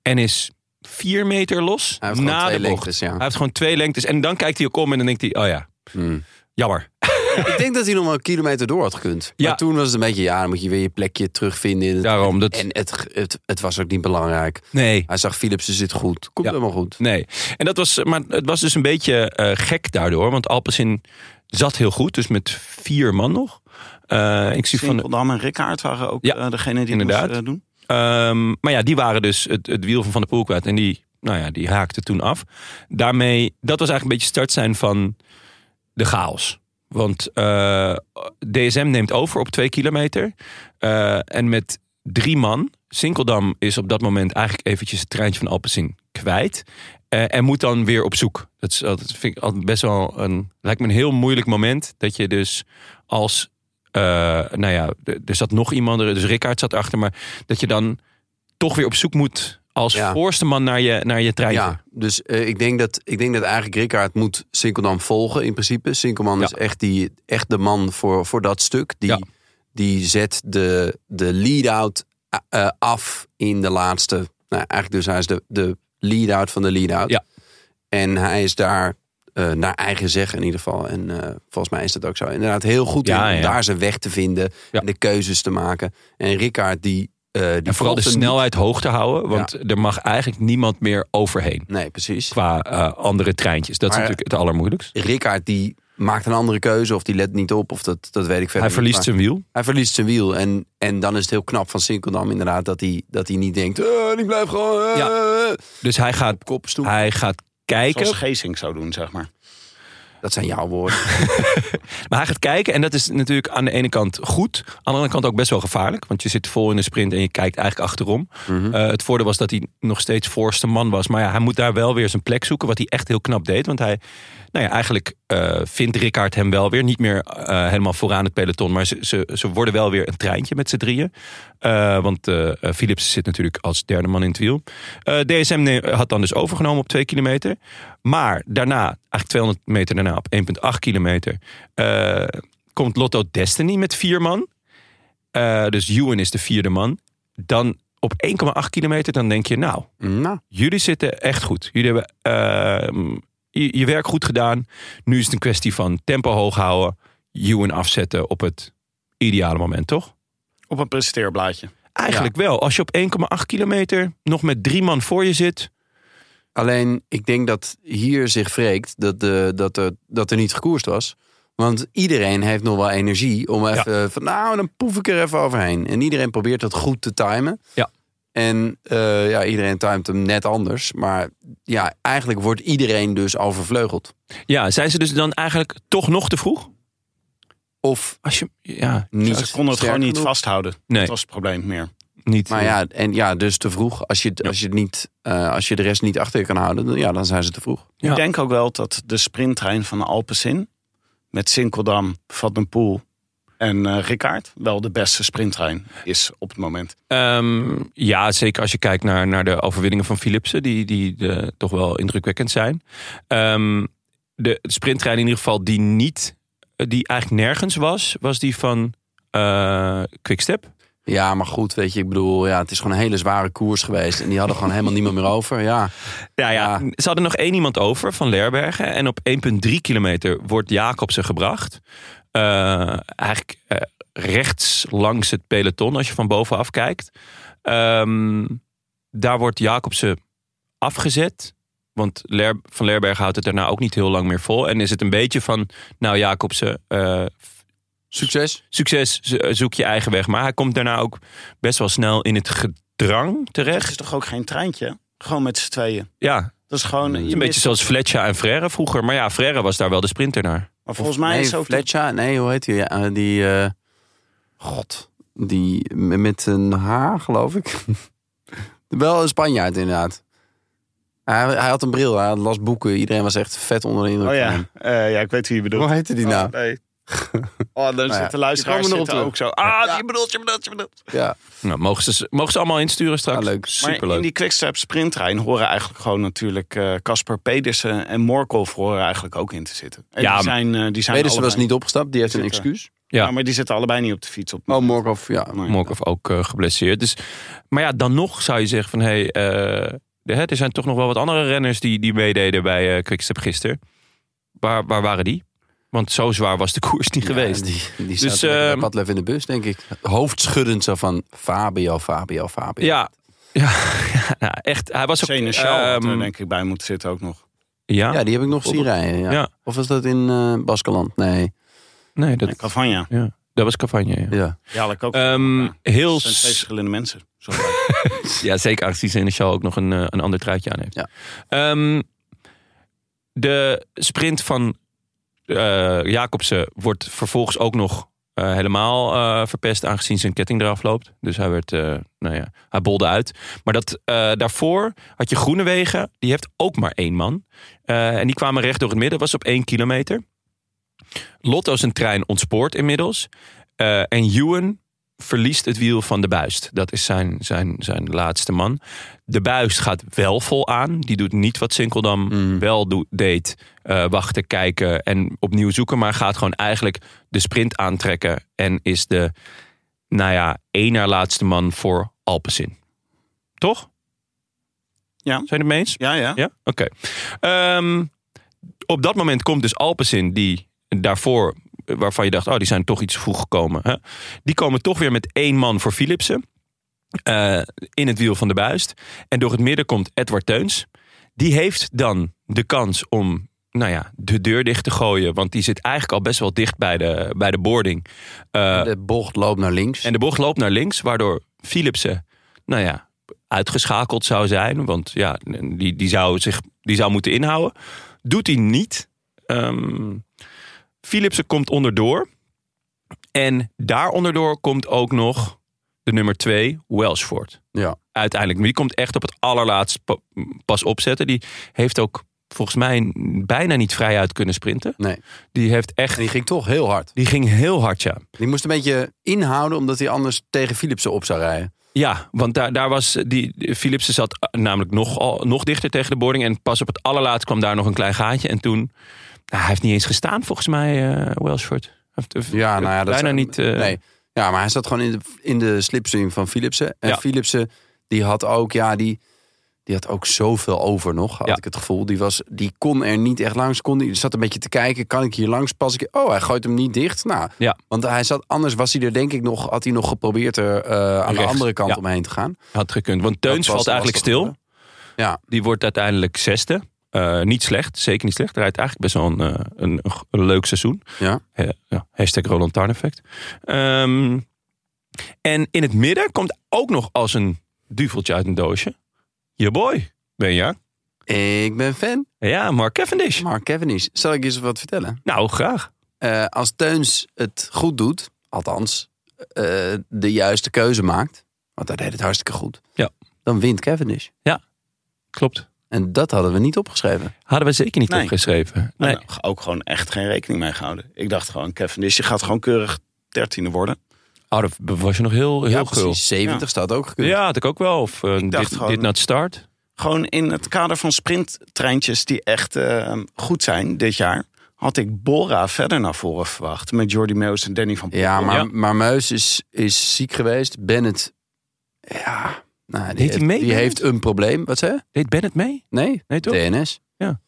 S3: En is vier meter los
S2: Hij heeft gewoon
S3: na
S2: twee
S3: de bocht.
S2: lengtes, ja.
S3: Hij heeft gewoon twee lengtes. En dan kijkt hij ook om en dan denkt hij, oh ja,
S2: Hmm.
S3: jammer.
S2: Ik denk dat hij nog wel een kilometer door had gekund.
S3: Ja.
S2: Maar toen was het een beetje, ja, dan moet je weer je plekje terugvinden. in het-
S3: Daarom, dat,
S2: En het, het, het was ook niet belangrijk.
S3: nee.
S2: Hij zag Philipsen zit goed. Komt
S3: Ja.
S2: helemaal goed.
S3: Nee, en dat was, maar het was dus een beetje eh, gek daardoor. Want Alpecin zat heel goed, dus met vier man nog. Eh, ik zie van,
S1: Sinkeldam en Rickaard waren ook
S3: Ja,
S1: eh, degene die het
S3: inderdaad.
S1: moesten, eh, doen.
S3: ehm, maar ja, die waren dus het, het wiel van Van der Poel kwijt. En die, nou ja, die haakte toen af. Daarmee, dat was eigenlijk een beetje start zijn van de chaos. Want eh, DSM neemt over op twee kilometer. Eh, en met drie man. Sinkeldam is op dat moment eigenlijk eventjes het treintje van Alpecin kwijt. Eh, en moet dan weer op zoek. Dat, is, altijd- vind ik altijd best wel een. Lijkt me een heel moeilijk moment. Dat je dus als eh, nou ja, d- er zat nog iemand, er- dus Rickard zat achter. Maar dat je dan toch weer op zoek moet als
S2: Ja.
S3: voorste man naar je, naar je trein.
S2: Ja, dus eh, ik, denk dat, ik denk dat eigenlijk Rickaard moet Sinkeldam volgen in principe. Sinkelman is echt, die, echt de man voor, voor dat stuk. Die,
S3: Ja.
S2: die zet de, de lead-out eh, af in de laatste... Nou, eigenlijk dus hij is de, de lead-out van de lead-out.
S3: Ja.
S2: En hij is daar eh, naar eigen zeggen in ieder geval. En eh, volgens mij is dat ook zo. Inderdaad heel goed
S3: Ja,
S2: in om
S3: ja.
S2: daar zijn weg te vinden.
S3: Ja.
S2: En de keuzes te maken. En Rickaard die... eh, die
S3: En vooral de
S2: volgt hem niet.
S3: snelheid hoog te houden, want er mag eigenlijk niemand meer overheen.
S2: Nee, precies.
S3: Qua eh, andere treintjes. Dat
S2: Maar-
S3: is natuurlijk het allermoeilijkst.
S2: Rickaard die maakt een andere keuze of die let niet op of dat, dat weet ik verder
S3: Hij
S2: niet.
S3: verliest
S2: Maar
S3: zijn wiel.
S2: hij verliest zijn wiel en, en dan is het heel knap van Sinkeldam inderdaad dat hij, dat hij niet denkt eh die blijft gewoon eh, eh.
S3: Dus hij gaat,
S2: kop stoel.
S3: hij gaat kijken.
S1: Zoals Geesink zou doen, zeg maar.
S2: Dat zijn jouw woorden.
S3: Maar hij gaat kijken en dat is natuurlijk aan de ene kant goed. Aan de andere kant ook best wel gevaarlijk. Want je zit vol in de sprint en je kijkt eigenlijk achterom.
S2: Mhm.
S3: Eh, het voordeel was dat hij nog steeds voorste man was. Maar ja, hij moet daar wel weer zijn plek zoeken. Wat hij echt heel knap deed. Want hij, nou ja, eigenlijk eh, vindt Rickaard hem wel weer. Niet meer eh, helemaal vooraan het peloton. Maar ze, ze, ze worden wel weer een treintje met z'n drieën. Eh, want eh, eh, Philips zit natuurlijk als derde man in het wiel. Eh, DSM ne- had dan dus overgenomen op 2 kilometer. Maar daarna, eigenlijk 200 meter daarna, op 1,8 kilometer, eh, komt Lotto Destiny met vier man. Eh, dus Ewan is de vierde man. Dan op 1,8 kilometer, dan denk je, nou,
S2: nou,
S3: jullie zitten echt goed. Jullie hebben eh, je, je werk goed gedaan. Nu is het een kwestie van tempo hoog houden, Ewan afzetten op het ideale moment, toch?
S1: Op een presenteerblaadje.
S3: Eigenlijk wel. Als je op 1,8 kilometer nog met drie man voor je zit.
S2: alleen ik denk dat hier zich wreekt dat, de, dat, er, dat er niet gekoerst was. Want iedereen heeft nog wel energie om even van nou dan poef ik er even overheen. En iedereen probeert dat goed te timen.
S3: Ja.
S2: En eh, ja, iedereen timet hem net anders. Maar ja, eigenlijk wordt iedereen dus overvleugeld.
S3: Ja, zijn ze dus dan eigenlijk toch nog te vroeg?
S2: Of
S3: Als je, ja,
S2: niet.
S1: Ze konden het
S2: sterk
S1: gewoon niet
S2: genoeg.
S1: vasthouden.
S3: nee,
S1: Dat was het probleem meer.
S3: niet.
S2: Maar ja, en ja, dus te vroeg. Als je, als je, het niet, eh, als je de rest niet achter je kan houden, dan, ja, dan zijn ze te vroeg.
S3: Ja.
S1: Ik denk ook wel dat de sprinttrein van Alpecin... met Sinkeldam, Vattenpoel en eh Rickaard... wel de beste sprinttrein is op het moment.
S3: Ehm, ja, zeker als je kijkt naar, naar de overwinningen van Philipsen, die, die eh, toch wel indrukwekkend zijn. Ehm, de sprinttrein in ieder geval die niet, eh, die eigenlijk nergens was, was die van eh Quickstep.
S2: Ja, maar goed, weet je, ik bedoel, ja, het is gewoon een hele zware koers geweest. En die hadden gewoon helemaal niemand meer over. Ja,
S3: Ja,
S2: Ja.
S3: ja, ze hadden nog één iemand over van Leerbergen. En op 1,3 kilometer wordt Jacobsen gebracht. Eh, eigenlijk eh, rechts langs het peloton, als je van bovenaf kijkt. Ehm, daar wordt Jacobsen afgezet. Want Leer, Van Leerbergen houdt het daarna ook niet heel lang meer vol. En is het een beetje van, nou Jacobsen, eh,
S2: succes.
S3: succes, zo- zoek je eigen weg. Maar hij komt daarna ook best wel snel in het gedrang
S1: Het is
S3: terecht.
S1: toch ook geen treintje? Gewoon met z'n tweeën.
S3: Ja,
S1: Dat is gewoon...
S3: Het
S1: je
S3: is een beetje
S1: mist-
S3: zoals Fletcher en Frère vroeger. Maar ja, Frère was daar wel de sprinter naar.
S1: maar volgens mij
S2: nee,
S1: is ook... de-
S2: Fletcher, nee, hoe heet die? Ja, eh, die, eh, god, die m- met een haar, geloof ik. Wel een Spanjaard, inderdaad. Hij, hij had een bril, hij las boeken. Iedereen was echt vet onder de indruk
S1: Oh
S2: van
S1: ja.
S2: hem.
S1: Eh, ja, ik weet wie je bedoelt.
S2: Hoe heette die nou?
S1: Oh, nee. oh dan
S2: ja,
S1: zitten
S2: die
S1: luisteraars
S2: komen
S1: zitten
S2: erop terug.
S1: ook zo. Ah, je bedoelt, je bedoelt, je bedoelt.
S2: Ja,
S3: Nou, mogen ze, mogen ze allemaal insturen straks?
S2: ah, leuk.
S1: Maar
S3: Superleuk.
S1: in die quickstep sprinttrein horen eigenlijk gewoon natuurlijk eh, Casper Pedersen en Morkov horen eigenlijk ook in te zitten. En
S3: Ja,
S1: die
S3: maar-
S1: zijn, eh, die zijn
S2: Pedersen was
S1: allebei-
S2: niet opgestapt, die heeft een
S1: Zitten.
S2: excuus.
S3: Ja.
S1: Ja, maar die zitten allebei niet op de fiets. Op
S2: Oh, Morkov, ja.
S1: Nee.
S3: Morkov ook eh, geblesseerd. Dus, maar ja, dan nog zou je zeggen van... Hey, eh, de- hè, er zijn toch nog wel wat andere renners die, die meededen bij eh, Quickstep gisteren. Waar, waar waren die? Want zo zwaar was de koers niet geweest.
S2: Ja, die die
S3: Dus,
S2: dus, bij
S3: ehm,
S2: Padlef in de bus, denk ik. Hoofdschuddend zo van Fabio, Fabio, Fabio.
S3: Ja, ja, ja nou, echt. Hij was ook...
S1: Seneschal had er
S3: ehm,
S1: denk ik bij moeten zitten ook nog.
S3: ja?
S2: Ja, die heb ik nog zien rijden. Ja.
S3: Ja.
S2: Of was dat in eh Baskeland? Nee.
S3: nee, dat,
S1: En Cavagna.
S3: ja, dat was Cavagna. Ja.
S2: Ja.
S1: Ja, dat ik ook.
S3: Ehm,
S1: Ja.
S3: heel
S1: Dat zijn twee verschillende mensen. Sorry.
S3: Ja, zeker aangezien ze in de show ook nog een, eh, een ander truitje aan heeft.
S2: Ja.
S3: Ehm, de sprint van eh, Jacobsen wordt vervolgens ook nog eh, helemaal eh, verpest, aangezien zijn ketting eraf loopt. Dus hij werd, eh, nou ja, hij bolde uit. Maar dat, eh, daarvoor had je Groenewegen, die heeft ook maar één man. Eh, en die kwamen recht door het midden, was op één kilometer. Lotto zijn trein ontspoort inmiddels. Eh, en Ewan verliest het wiel van de buist. Dat is zijn, zijn, zijn laatste man. De buist gaat wel vol aan. Die doet niet wat Sinkeldam
S1: Mm.
S3: wel doet deed. Eh, wachten, kijken en opnieuw zoeken. Maar gaat gewoon eigenlijk de sprint aantrekken. En is de, nou ja, één na laatste man voor Alpecin. Toch?
S1: Ja.
S3: Zijn jullie het mee eens?
S1: Ja, ja.
S3: Ja, oké. Ehm, op dat moment komt dus Alpecin, die daarvoor, eh, waarvan je dacht, oh, die zijn toch iets vroeg gekomen. Hè? Die komen toch weer met één man voor Philipsen. eh, in het wiel van de buist. En door het midden komt Edward Teuns. Die heeft dan de kans om nou ja, de deur dicht te gooien. Want die zit eigenlijk al best wel dicht bij de, bij de boarding. Eh,
S2: De bocht loopt naar links.
S3: en de bocht loopt naar links, waardoor Philipsen, nou ja, uitgeschakeld zou zijn. Want ja, die, die, zou, zich, die zou moeten inhouden. Doet hij niet. Ehm Philipsen komt onderdoor. En daar onderdoor komt ook nog de nummer twee, Welsford.
S2: Ja.
S3: Uiteindelijk. Maar die komt echt op het allerlaatst pa- pas opzetten. Die heeft ook volgens mij bijna niet vrijuit kunnen sprinten.
S2: Nee.
S3: Die heeft echt...
S2: En die ging toch heel hard.
S3: Die ging heel hard, ja.
S2: Die moest een beetje inhouden, omdat hij anders tegen Philipsen op zou rijden.
S3: Ja, want daar, daar was die de Philipsen zat eh, namelijk nog, al, nog dichter tegen de boarding. En pas op het allerlaatst kwam daar nog een klein gaatje. En toen, nou, hij heeft niet eens gestaan volgens mij, eh Welsford. Hij heeft- heeft
S2: Ja, nou ja, dat
S3: bijna
S2: zou-
S3: niet. eh,
S2: nee. Ja, maar hij zat gewoon in de, in de slipstream van Philipsen. En
S3: Ja.
S2: Philipsen, die had ook, ja, die, die had ook zoveel over nog, had
S3: Ja.
S2: ik het gevoel. Die, was, die kon er niet echt langs. Kon, die zat een beetje te kijken, kan ik hier langs? Pas ik. Oh, hij gooit hem niet dicht. Nou,
S3: Ja.
S2: want hij zat, anders was hij er denk ik nog, had hij nog geprobeerd er eh, aan de
S3: Rechts,
S2: andere kant
S3: ja.
S2: omheen te gaan.
S3: had gekund. Want Teuns
S2: was
S3: valt eigenlijk
S2: lastig,
S3: stil.
S2: Ja.
S3: Die wordt uiteindelijk zesde. Eh, niet slecht, zeker niet slecht. Hij rijdt eigenlijk best wel een, eh, een, een leuk seizoen.
S2: Ja.
S3: Eh, ja, hashtag Roland Tarn effect. Ehm, en in het midden komt ook nog als een duveltje uit een doosje. Je boy, ben je?
S2: Ik ben fan.
S3: Ja, Mark Cavendish.
S2: Mark Cavendish, zal ik je eens wat vertellen?
S3: Nou, graag.
S2: Eh, als Teuns het goed doet, althans eh, de juiste keuze maakt, want hij deed het hartstikke goed,
S3: Ja.
S2: dan wint Cavendish.
S3: Klopt.
S2: En dat hadden we niet opgeschreven.
S3: Hadden we zeker niet
S1: Nee.
S3: opgeschreven. Nee.
S1: Nou, ook gewoon echt geen rekening mee gehouden. Ik dacht gewoon, Kevin, dus je gaat gewoon keurig dertiende worden.
S3: Oh, dat was je nog heel, heel
S2: ja,
S3: gul.
S2: precies. 70
S1: Ja.
S2: staat ook gekund.
S3: Ja, had ik ook wel. Of eh,
S1: dacht
S3: dit,
S1: gewoon-
S3: dit not start.
S1: Gewoon in het kader van sprinttreintjes die echt eh, goed zijn dit jaar, had ik Bora verder naar voren verwacht. Met Jordi Meus en Danny van Poel.
S2: Ja, maar,
S3: Ja.
S2: maar Meus is, is ziek geweest. Bennett, ja, nou, die,
S3: Deed hij
S2: heeft,
S3: mee,
S2: die
S3: Bennett?
S2: heeft een probleem. Wat zei je?
S3: Deed Bennett mee?
S2: Nee,
S3: Nee, toch?
S2: TNS.
S3: Ja.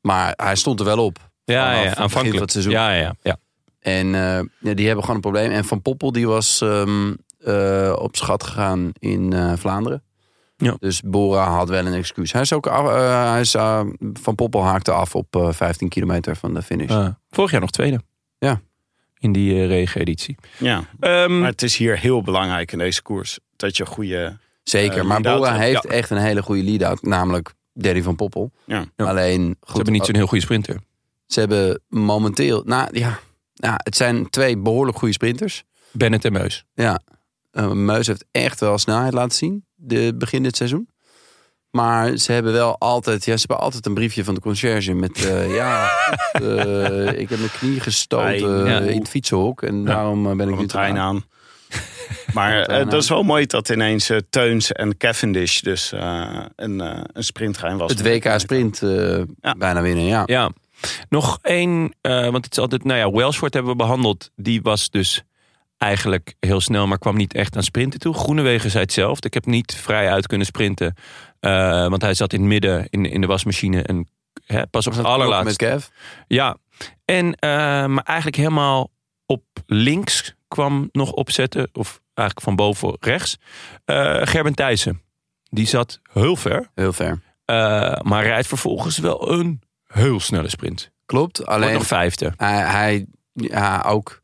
S2: Maar hij stond er wel op.
S3: Ja,
S2: Vanaf
S3: ja,
S2: het begin
S3: aanvankelijk.
S2: van het seizoen.
S3: Ja, ja, ja.
S2: En eh, ja, die hebben gewoon een probleem. En Van Poppel die was ehm, eh, op schat gegaan in eh, Vlaanderen.
S3: Ja.
S2: Dus Bora had wel een excuus. Hij is ook af- eh, hij is, eh, Van Poppel haakte af op eh, 15 kilometer van de finish.
S3: Eh, vorig jaar nog tweede.
S2: Ja.
S3: In die eh, regen-editie.
S1: Ja,
S3: Ehm,
S1: maar het is hier heel belangrijk in deze koers dat je goede...
S2: Zeker,
S1: eh,
S2: maar
S1: lead-out,
S2: Bora
S1: ja.
S2: heeft echt een hele goede lead-out. Namelijk Derry Van Poppel.
S1: Ja.
S3: Ja.
S2: Alleen,
S3: ze
S2: goed,
S3: hebben niet zo'n heel goede sprinter.
S2: ze hebben momenteel... Nou ja, ja, het zijn twee behoorlijk goede sprinters.
S3: Bennett en Meus.
S2: Ja, Eh, Meus heeft echt wel snelheid laten zien. De, begin dit seizoen. Maar ze hebben wel altijd, ja, ze hebben altijd een briefje van de conciërge met, eh, ja, eh, ik heb mijn knie gestoten
S3: Ja.
S2: in het fietsenhok en daarom eh, ben ik
S1: Kom
S2: nu
S1: een
S2: te laat.
S1: trein aan. Maar eh, dat is wel mooi dat ineens eh, Teuns en Cavendish dus eh, een, eh een sprinttrein was.
S2: Het WK sprint eh,
S1: Ja.
S2: bijna winnen, ja.
S3: Ja. Nog één, eh, want het is altijd, nou ja, Welsford hebben we behandeld. Die was dus eigenlijk heel snel, maar kwam niet echt aan sprinten toe. Groenewegen zei hetzelfde. Ik heb niet vrij uit kunnen sprinten. eh, want hij zat in het midden in, in de wasmachine en hè, pas op het
S2: Met
S3: allerlaatst.
S2: Kev.
S3: Ja, en, eh, maar eigenlijk helemaal op links kwam nog opzetten. Of eigenlijk van boven rechts. Eh Gerben Thijssen. Die zat heel ver.
S2: Heel ver.
S3: eh, maar rijdt vervolgens wel een heel snelle sprint.
S2: Klopt,
S3: Wordt
S2: alleen
S3: nog vijfde.
S2: hij, hij ja, ook,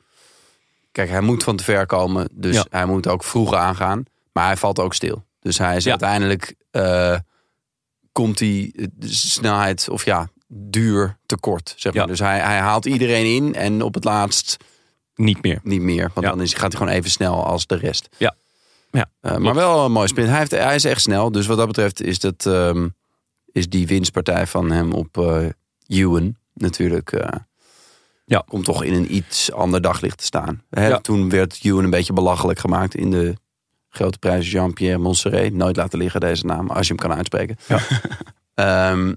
S2: kijk, hij moet van te ver komen, dus
S3: Ja.
S2: hij moet ook vroeg aangaan. Maar hij valt ook stil. Dus hij is
S3: Ja.
S2: uiteindelijk, eh, komt die eh, de snelheid, of ja, duur tekort, zeg maar.
S3: Ja.
S2: Dus hij, hij haalt iedereen in en op het laatst
S3: Niet meer.
S2: niet meer. Want
S3: Ja.
S2: dan is, gaat hij gewoon even snel als de rest.
S3: Ja. Ja,
S2: Eh, maar wel een mooi sprint. Hij, heeft, hij is echt snel, dus wat dat betreft is, dat, ehm, is die winstpartij van hem op eh Ewan natuurlijk... eh,
S3: Ja.
S2: komt toch in een iets ander daglicht te staan. Hè,
S3: Ja.
S2: Toen werd Ewan een beetje belachelijk gemaakt in de grote prijs Jean-Pierre Montserrat. Nooit laten liggen deze naam, als je hem kan uitspreken.
S3: Ja.
S2: Ehm,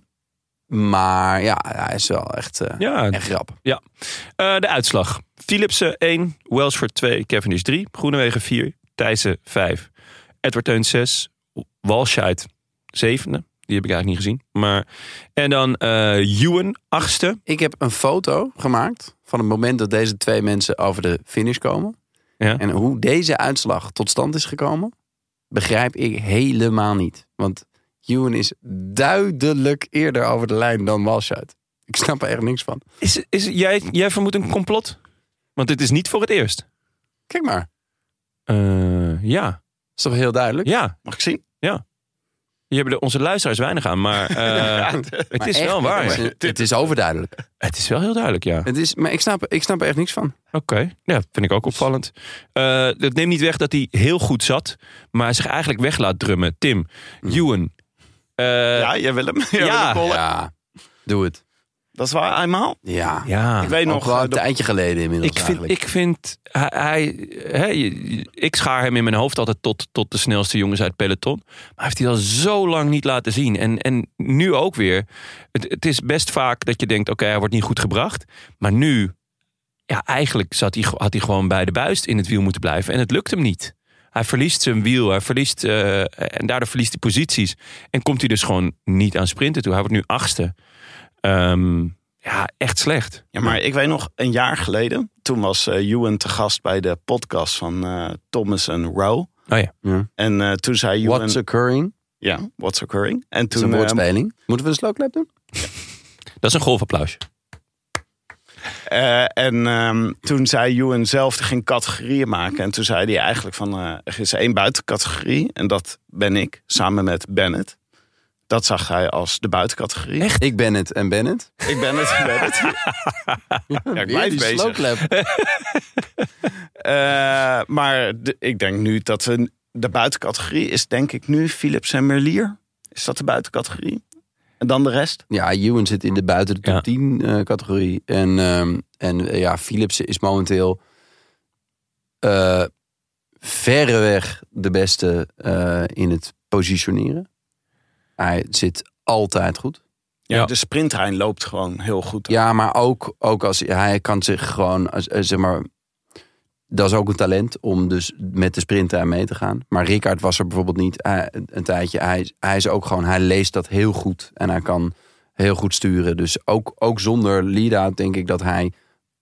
S2: maar ja, hij is wel echt, eh
S3: Ja,
S2: echt rap.
S3: Eh, de uitslag. Philipsen 1, Welsford 2, Cavendish 3, Groenewegen 4, Thijssen 5, Edward Teun 6, Walscheid 7. Die heb ik eigenlijk niet gezien. Maar, en dan eh Ewan 8e.
S2: Ik heb een foto gemaakt van het moment dat deze twee mensen over de finish komen.
S3: Ja.
S2: En hoe deze uitslag tot stand is gekomen, begrijp ik helemaal niet. Want Ewan is duidelijk eerder over de lijn dan Walshout. Ik snap er echt niks van.
S3: Is, is, jij, jij vermoedt een complot? Want dit is niet voor het eerst.
S2: Kijk maar, dat
S3: Eh, ja,
S2: is toch heel duidelijk?
S3: ja.
S1: Mag ik zien?
S3: Je hebben er onze luisteraars weinig aan, maar eh, het
S2: Maar
S3: is
S2: echt,
S3: wel waar.
S2: Het is, het is overduidelijk.
S3: Het is wel heel duidelijk, ja.
S2: Het is, maar ik snap, ik snap er echt niks van.
S3: Oké, ja, vind ik ook opvallend. Eh, dat neemt niet weg dat hij heel goed zat, maar zich eigenlijk weg laat drummen. Tim, Ewan. Eh,
S1: ja, jij wil hem. Jij wil
S3: ja.
S1: hem bollen.
S2: Ja, doe het.
S1: Dat is waar, eenmaal.
S2: Ja,
S3: ja.
S1: Ik weet
S2: nog
S1: nog,
S2: wel een
S1: eh, de-
S2: tijdje geleden inmiddels
S3: Ik vind,
S2: eigenlijk.
S3: ik vind hij, hij- hè, je- je- ik schaar hem in mijn hoofd altijd tot, tot de snelste jongens uit het peloton. Maar hij heeft hij al zo lang niet laten zien. En, en nu ook weer. Het, het is best vaak dat je denkt, oké, hij wordt niet goed gebracht. Maar nu, ja, eigenlijk zat hij, had hij gewoon bij de buist in het wiel moeten blijven. En het lukt hem niet. Hij verliest zijn wiel, hij verliest, eh, en daardoor verliest hij posities. En komt hij dus gewoon niet aan sprinten toe. Hij wordt nu achtste. Ehm, ja, echt slecht.
S1: Ja, maar ik weet nog, een jaar geleden, toen was eh Ewan te gast bij de podcast van eh, Thomas en Rowe.
S3: Oh ja.
S2: Ja.
S1: En eh, toen zei Ewan...
S2: What's occurring?
S1: Ja, what's occurring. En
S2: Dat is
S1: toen...
S2: een
S1: eh,
S2: woordspeling. Moeten we een slow clap doen?
S3: Dat is een golfapplausje.
S1: Eh, en ehm, toen zei Ewan zelf, die ging categorieën maken. En toen zei hij eigenlijk van, eh, er is één buitencategorie. En dat ben ik, samen met Bennett. Dat zag hij als de buitencategorie.
S3: Echt?
S2: Ik ben het en ben het.
S1: Ik ben het, ik ben het. ja, ik blijf bezig. Eh, maar de- ik denk nu dat we... De buitencategorie is denk ik nu Philips en Merlier. Is dat de buitencategorie? En dan de rest?
S2: Ja, Ewan zit in de buiten de top
S3: Ja.
S2: 10 eh, categorie. En, ehm, en eh, ja, Philipsen is momenteel eh, verreweg de beste eh, in het positioneren. Hij zit altijd goed.
S1: Ja,
S3: Ja.
S1: De sprinttrein loopt gewoon heel goed.
S2: Ja, maar ook, ook als hij kan zich gewoon, als, eh, zeg maar, dat is ook een talent om dus met de sprinter mee te gaan. Maar Ricard was er bijvoorbeeld niet hij- een tijdje. Hij, hij is ook gewoon, hij leest dat heel goed en hij kan heel goed sturen. Dus ook, ook zonder Lida denk ik dat hij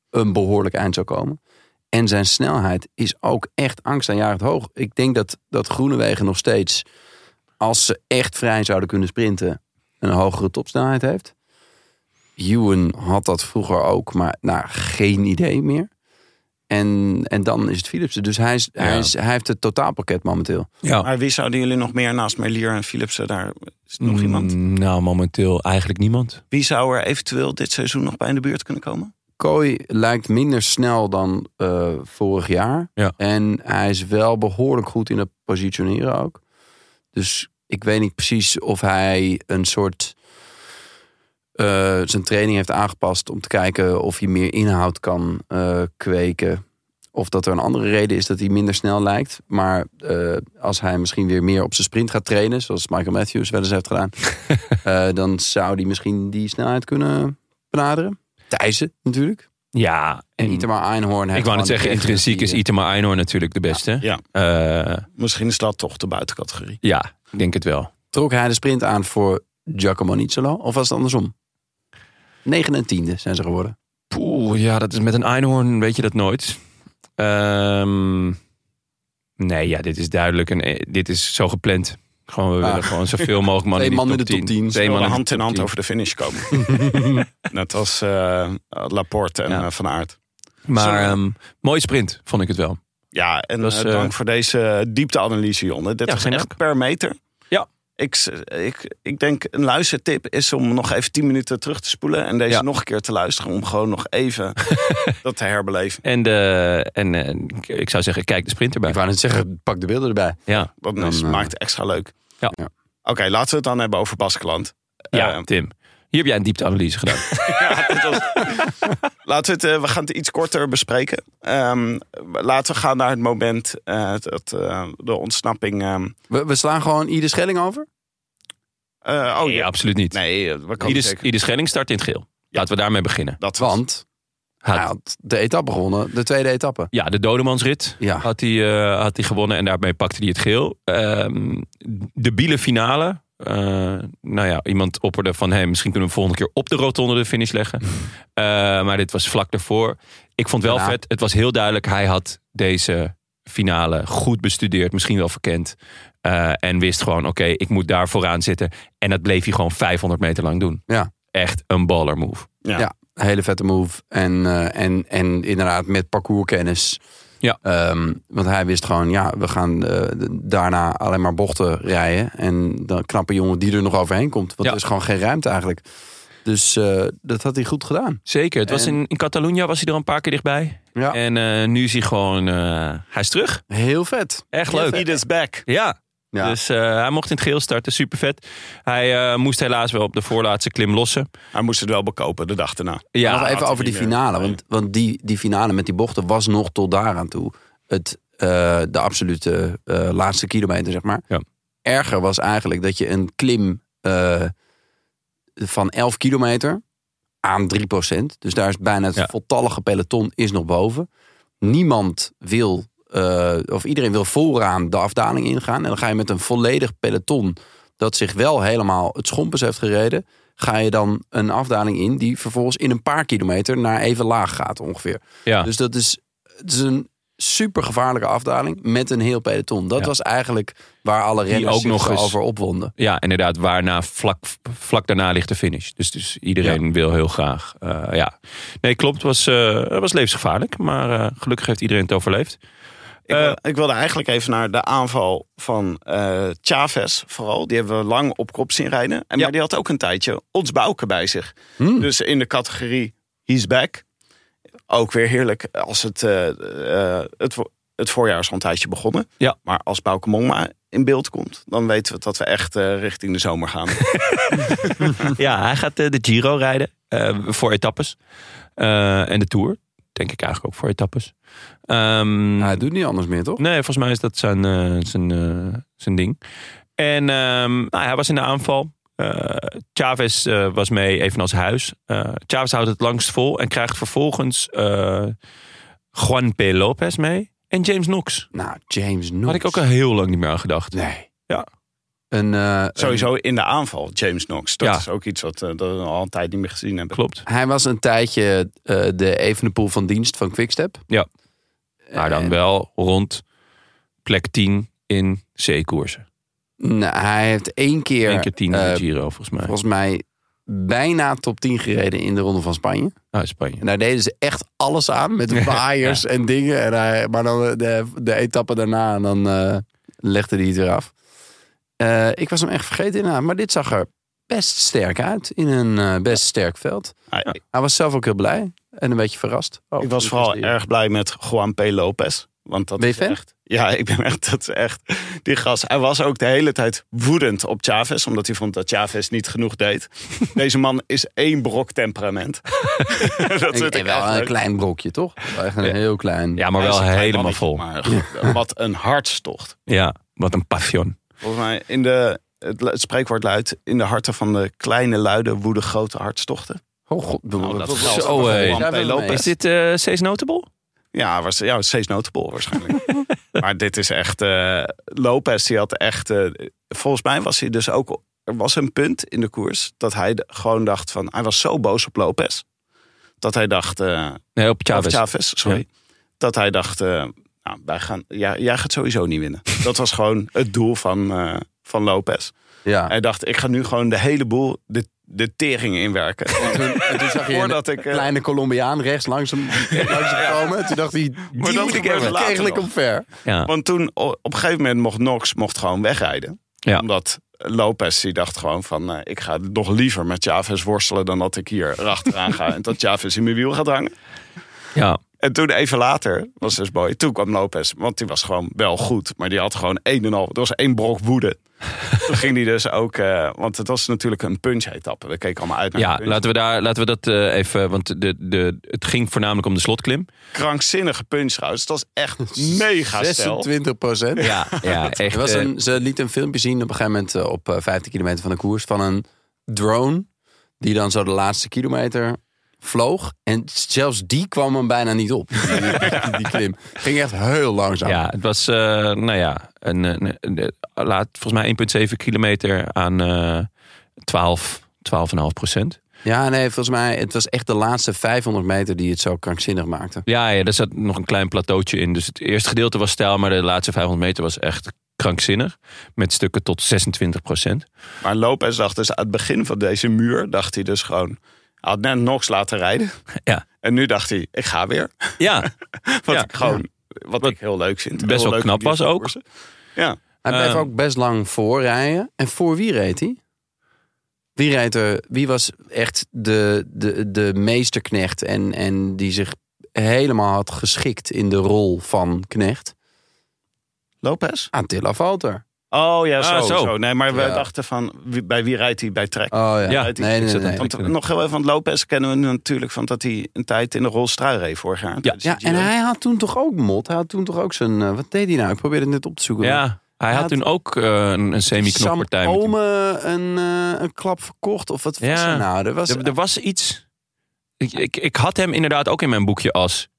S2: een behoorlijk eind zou komen. En zijn snelheid is ook echt angstaanjagend hoog. Ik denk dat, dat Groenewegen nog steeds, als ze echt vrij zouden kunnen sprinten, een hogere topsnelheid heeft. Ewan had dat vroeger ook, maar nou, geen idee meer. En, en dan is het Philipsen. Dus hij, is, hij, is, hij heeft het totaalpakket momenteel.
S3: Ja.
S1: Maar wie zouden jullie nog meer naast Merlier en Philipsen? Daar is nog iemand.
S3: Mm, Nou, momenteel eigenlijk niemand.
S1: Wie zou er eventueel dit seizoen nog bij in de buurt kunnen komen?
S2: Kooi lijkt minder snel dan eh, vorig jaar.
S3: Ja.
S2: En hij is wel behoorlijk goed in het positioneren ook. Dus ik weet niet precies of hij een soort... eh, zijn training heeft aangepast om te kijken of hij meer inhoud kan eh, kweken. Of dat er een andere reden is dat hij minder snel lijkt. Maar eh, als hij misschien weer meer op zijn sprint gaat trainen, zoals Michael Matthews wel eens heeft gedaan, eh, dan zou hij misschien die snelheid kunnen benaderen. Thijssen natuurlijk.
S3: Ja,
S2: En Itema Einhorn. heeft
S3: ik wou
S2: gewoon
S3: net zeggen,
S2: echt
S3: intrinsiek
S2: die-
S3: is Itema Einhorn natuurlijk de beste.
S1: Ja.
S3: Ja.
S1: Misschien is dat toch de buitencategorie.
S3: ja, ik denk het wel.
S2: Trok hij de sprint aan voor Giacomo Nizzolo? Of was het andersom? 9 en tiende zijn ze
S3: Oh,
S2: geworden.
S3: Poeh, ja, dat is met een Einhorn weet je dat nooit. Ehm, nee, ja, dit is duidelijk. En, eh, dit is zo gepland. Gewoon, we
S2: Ah.
S3: willen gewoon zoveel mogelijk mannen
S2: Twee
S3: in
S2: man
S3: de top 10. Twee
S1: Ze wilden
S3: mannen in
S1: hand
S3: de
S1: in
S3: top
S1: hand
S3: 10.
S1: over Oh, de finish komen. Net als eh, Laporte en
S3: Ja.
S1: eh, Van Aert.
S3: Maar
S1: Sorry.
S3: ehm, mooie sprint, vond ik het wel.
S1: Ja, en
S3: Dat is,
S1: eh,
S3: eh,
S1: dank voor deze diepteanalyse, Jonne. Dit
S3: Ja,
S1: is
S3: geen
S1: echt
S3: dank.
S1: per meter.
S3: Ja.
S1: Ik, s- ik, ik denk een luistertip is om nog even 10 minuten terug te spoelen. En deze
S3: Ja.
S1: nog een keer te luisteren. Om gewoon nog even dat te herbeleven.
S3: En, de, en eh, ik- ik zou zeggen, kijk de sprint erbij.
S2: Ik wou net zeggen, pak de beelden erbij.
S3: Ja,
S1: Dat
S2: Dan,
S1: is-
S2: eh,
S1: maakt het extra leuk.
S3: Ja.
S2: Ja.
S1: Oké, laten we het dan hebben over Baskeland.
S3: ja
S1: Eh,
S3: Tim. Hier heb jij een diepteanalyse gedaan.
S1: Ja, dit was- Laten we het, eh, we gaan het iets korter bespreken. Ehm, laten we gaan naar het moment eh, dat eh, de ontsnapping. ehm,
S2: We, we slaan gewoon ieder schelling over?
S1: eh, oh
S3: Nee,
S1: ja,
S3: absoluut niet.
S1: nee, eh, we kunnen
S3: Ieder,
S1: zeker.
S3: ieder schelling start in het geel. Laten we daarmee beginnen.
S1: Dat was.
S2: Want hij had de etappe gewonnen, de tweede etappe.
S3: Ja, de dodemansrit
S2: Ja.
S3: had, hij, eh, had hij gewonnen en daarmee pakte hij het geel. Ehm, de biele finale. eh, nou ja, iemand opperde van hem. Misschien kunnen we hem volgende keer op de rotonde de finish leggen. Eh, maar dit was vlak daarvoor. Ik vond wel
S2: Ja.
S3: vet. Het was heel duidelijk. Hij had deze finale goed bestudeerd. Misschien wel verkend. eh, en wist gewoon, oké, ik moet daar vooraan zitten. En dat bleef hij gewoon 500 meter lang doen.
S2: Ja.
S3: Echt een baller move.
S1: Ja.
S2: Ja, een hele vette move. En, eh, en, en inderdaad met parcourskennis.
S3: Ja.
S2: Ehm, want hij wist gewoon, ja, we gaan eh, d- daarna alleen maar bochten rijden. En dan knappe jongen die er nog overheen komt. Want
S3: Ja.
S2: er is gewoon geen ruimte eigenlijk. Dus eh, dat had hij goed gedaan.
S3: Zeker. Het was
S2: En-
S3: in, in Catalonia was hij er een paar keer dichtbij.
S2: Ja.
S3: En eh, nu is hij gewoon... eh, hij is terug.
S2: Heel vet.
S3: Echt
S1: He
S3: leuk.
S1: is back.
S3: Ja.
S2: Ja.
S3: Dus eh, hij mocht in het geel starten. Super vet. Hij eh, moest helaas wel op de voorlaatste klim lossen.
S1: Hij moest het wel bekopen de dag daarna.
S3: Ja,
S2: nog
S1: had
S2: even
S1: hij
S2: over die
S1: niet meer.
S2: finale. Want, want die, die finale met die bochten was nog tot daaraan toe het, eh, de absolute eh, laatste kilometer, zeg maar.
S3: Ja.
S2: Erger was eigenlijk dat je een klim eh, van 11 kilometer aan 3 Dus daar is bijna het
S3: Ja.
S2: voltallige peloton is nog boven. Niemand wil, eh, of iedereen wil vooraan de afdaling ingaan. En dan ga je met een volledig peloton dat zich wel helemaal het schompens heeft gereden. Ga je dan een afdaling in die vervolgens in een paar kilometer naar even laag gaat ongeveer.
S3: Ja.
S2: Dus dat is, het is een super gevaarlijke afdaling met een heel peloton. Dat
S3: Ja.
S2: was eigenlijk waar alle renners
S3: ook
S2: zich
S3: nog
S2: zo
S3: eens-
S2: over opwonden.
S3: ja, inderdaad. Waarna vlak, vlak daarna ligt de finish. Dus, dus iedereen wil heel graag. eh, ja. Nee, klopt. Het was, eh, het was levensgevaarlijk. Maar eh, gelukkig heeft iedereen het overleefd.
S1: Ik,
S3: Eh,
S1: wil- ik wilde eigenlijk even naar de aanval van eh Chavez vooral. Die hebben we lang op kop zien rijden. En,
S3: Ja. Hmm.
S1: Maar die had ook een tijdje ons Bouke bij zich. Dus in de categorie he's back. Ook weer heerlijk als het, eh, eh, het, vo- het voorjaar is al een tijdje begonnen.
S3: Ja.
S1: Maar als Bouke Mongma in beeld komt, dan weten we dat we echt eh, richting de zomer gaan.
S3: ja, hij gaat eh, de Giro rijden eh, voor etappes. Eh, en de Tour. Denk ik eigenlijk ook voor etappes. Ehm,
S2: Nou, hij doet niet anders meer, toch?
S3: Nee, volgens mij is dat zijn, eh, zijn, eh, zijn ding. En ehm, nou, hij was in de aanval. Eh Chavez eh, was mee, evenals Huis. Eh Chavez houdt het langst vol en krijgt vervolgens eh, Juan P. Lopez mee. En James Knox.
S2: Nou, James Knox.
S3: Had ik ook al heel lang niet meer aan gedacht.
S2: Nee.
S3: Ja.
S2: Een, eh,
S1: Sowieso in de aanval, James Knox. Dat
S3: Ja.
S1: is ook iets wat eh, dat we al een tijd niet meer gezien hebben.
S3: Klopt.
S2: Hij was een tijdje eh, de evenepoel van dienst van Quickstep. Eh,
S3: Ja. Maar dan
S2: En-
S3: wel rond plek 10 in C-koersen.
S2: Nou, hij heeft één keer,
S3: Eén keer 10 in
S2: eh,
S3: de Giro, volgens mij.
S2: volgens mij bijna top 10 gereden in de Ronde van Spanje.
S3: Ah, Spanje.
S2: En daar deden ze echt alles aan met waaiers en dingen. En hij, maar dan eh, de, de etappe daarna en dan eh, legde hij het weer af. Eh, ik was hem echt vergeten inderdaad. Maar dit zag er best sterk uit in een eh, best sterk veld.
S1: Hij-
S2: Hij was zelf ook heel blij en een beetje verrast. Oh,
S1: Ik was
S2: dit
S1: vooral
S2: de-
S1: erg blij met Juan P. Lopez. Want dat
S2: Ben je
S1: is
S2: fan?
S1: echt. Ja, ik ben echt. Dat is echt. Die gast. Hij was ook de hele tijd woedend op Chavez. Omdat hij vond dat Chavez niet genoeg deed. Deze man is één brok temperament. dat
S2: En-
S1: vind
S2: en
S1: ik
S2: wel
S1: echt
S2: een
S1: leuk.
S2: klein brokje, toch? Wel Echt een heel klein.
S3: Ja, maar
S1: Hij is
S3: wel
S1: een klein
S3: helemaal
S1: mannetje,
S3: vol.
S1: Maar goed, wat een hartstocht.
S3: Ja, wat een passion.
S1: Volgens mij in de. Het, lu- het spreekwoord luidt: in de harten van de kleine luiden woeden grote hartstochten.
S2: Oh god,
S1: Nou, dat geldt
S3: zo,
S1: ook voor
S3: hé.
S1: Juan
S2: Daar
S1: P.
S2: ben ik mee
S1: Lopez.
S3: Is dit eh C's Notable?
S1: Ja, was, ja steeds notable waarschijnlijk. maar dit is echt... eh, Lopez, die had echt... eh, volgens mij was hij dus ook... Er was een punt in de koers dat hij d- gewoon dacht van... Hij was zo boos op Lopez. Dat hij dacht... eh,
S3: Nee, op
S1: Of
S3: Chavez.
S1: Chavez, sorry. Dat hij dacht... eh, nou, wij gaan, ja, jij gaat sowieso niet winnen. Dat was gewoon het doel van, eh, van Lopez.
S2: Ja.
S1: Hij dacht, ik ga nu gewoon de hele boel de, de tering inwerken.
S2: Toen, en toen zag je een
S1: Voordat ik... eh,
S2: kleine Colombiaan rechts langs hem, langs hem komen. Toen dacht hij, die
S1: dat
S2: moet ik
S1: gebeurt
S2: hebben.
S1: later
S2: Eigenlijk
S1: nog.
S2: omver.
S3: Ja.
S1: Want toen, o- op een gegeven moment, mocht Knox mocht gewoon wegrijden.
S3: Ja.
S1: Omdat Lopez, die dacht gewoon van... eh, ik ga nog liever met Chavez worstelen dan dat ik hier achteraan ga... en dat Chavez in mijn wiel gaat hangen.
S3: ja.
S1: En toen even later, was dus mooi, toen kwam Lopez. Want die was gewoon wel goed. Maar die had gewoon een en al. Er was één brok woede. toen ging die dus ook... eh, want het was natuurlijk een punch-etappe. We keken allemaal uit naar
S3: Ja,
S1: een punch.
S3: laten we, daar, laten we dat eh, even. Want de, de, het ging voornamelijk om de slotklim.
S1: Krankzinnige punch trouwens. Het was echt mega stel.
S2: 26 procent.
S3: Ja, ja echt.
S2: Er was
S3: eh,
S2: een, ze liet een filmpje zien op een gegeven moment eh, op eh, 15 kilometer van de koers van een drone die dan zo de laatste kilometer vloog. En zelfs die kwam hem bijna niet op. Die, die- die klim. Ging echt heel langzaam.
S3: ja, het was, eh, nou ja, een, een, een- laat, volgens mij 1,7 kilometer aan eh 12, 12,5 procent.
S2: Ja, nee, volgens mij, het was echt de laatste 500 meter die het zo krankzinnig maakte.
S3: Ja, ja, daar zat nog een klein plateautje in. Dus het eerste gedeelte was stijl, maar de laatste 500 meter was echt krankzinnig. Met stukken tot 26 procent.
S1: Maar Lopez dacht dus aan het begin van deze muur... dacht hij dus gewoon... Hij had net Nox laten rijden.
S3: Ja.
S1: En nu dacht hij, ik ga weer.
S3: Ja,
S1: Wat
S3: Ja.
S1: ik gewoon... Wat, ik heel leuk vind.
S3: best
S1: Heel
S3: wel
S1: leuk om
S3: knap
S1: die
S3: was
S1: te
S3: ook.
S1: koersen. Ja.
S2: Hij bleef
S3: Ehm.
S2: ook best lang voorrijden. En voor wie reed hij? Wie reed er? Wie was echt de, de, de meesterknecht en, en die zich helemaal had geschikt in de rol van knecht?
S1: Lopez?
S2: Attila Valter.
S1: Oh ja, zo.
S3: Ah, zo.
S1: zo. Nee, maar we
S2: Ja.
S1: dachten van, wie- bij wie rijdt hij bij Trek?
S2: Oh ja.
S3: Ja,
S2: nee,
S1: ik
S2: nee, nee,
S3: zat
S2: nee.
S3: aan het-
S1: Want nog heel even, want Lopez kennen we natuurlijk van dat hij een tijd in de rolstrui reed vorig jaar. Dus tijdens
S2: Ja,
S1: de
S2: en
S1: Giro.
S2: hij had toen toch ook mot? Hij had toen toch ook zijn... eh, wat deed hij nou? Ik probeerde het net op te zoeken.
S3: ja hij had
S2: had-
S3: toen ook eh, een, een
S2: Sam
S3: semi-knoppartij. met-
S2: Ome een, eh, een klap verkocht? Of wat was
S3: Ja.
S2: er nou? Er was,
S3: Er, er was iets. Ik, ik, ik had hem inderdaad ook in mijn boekje als.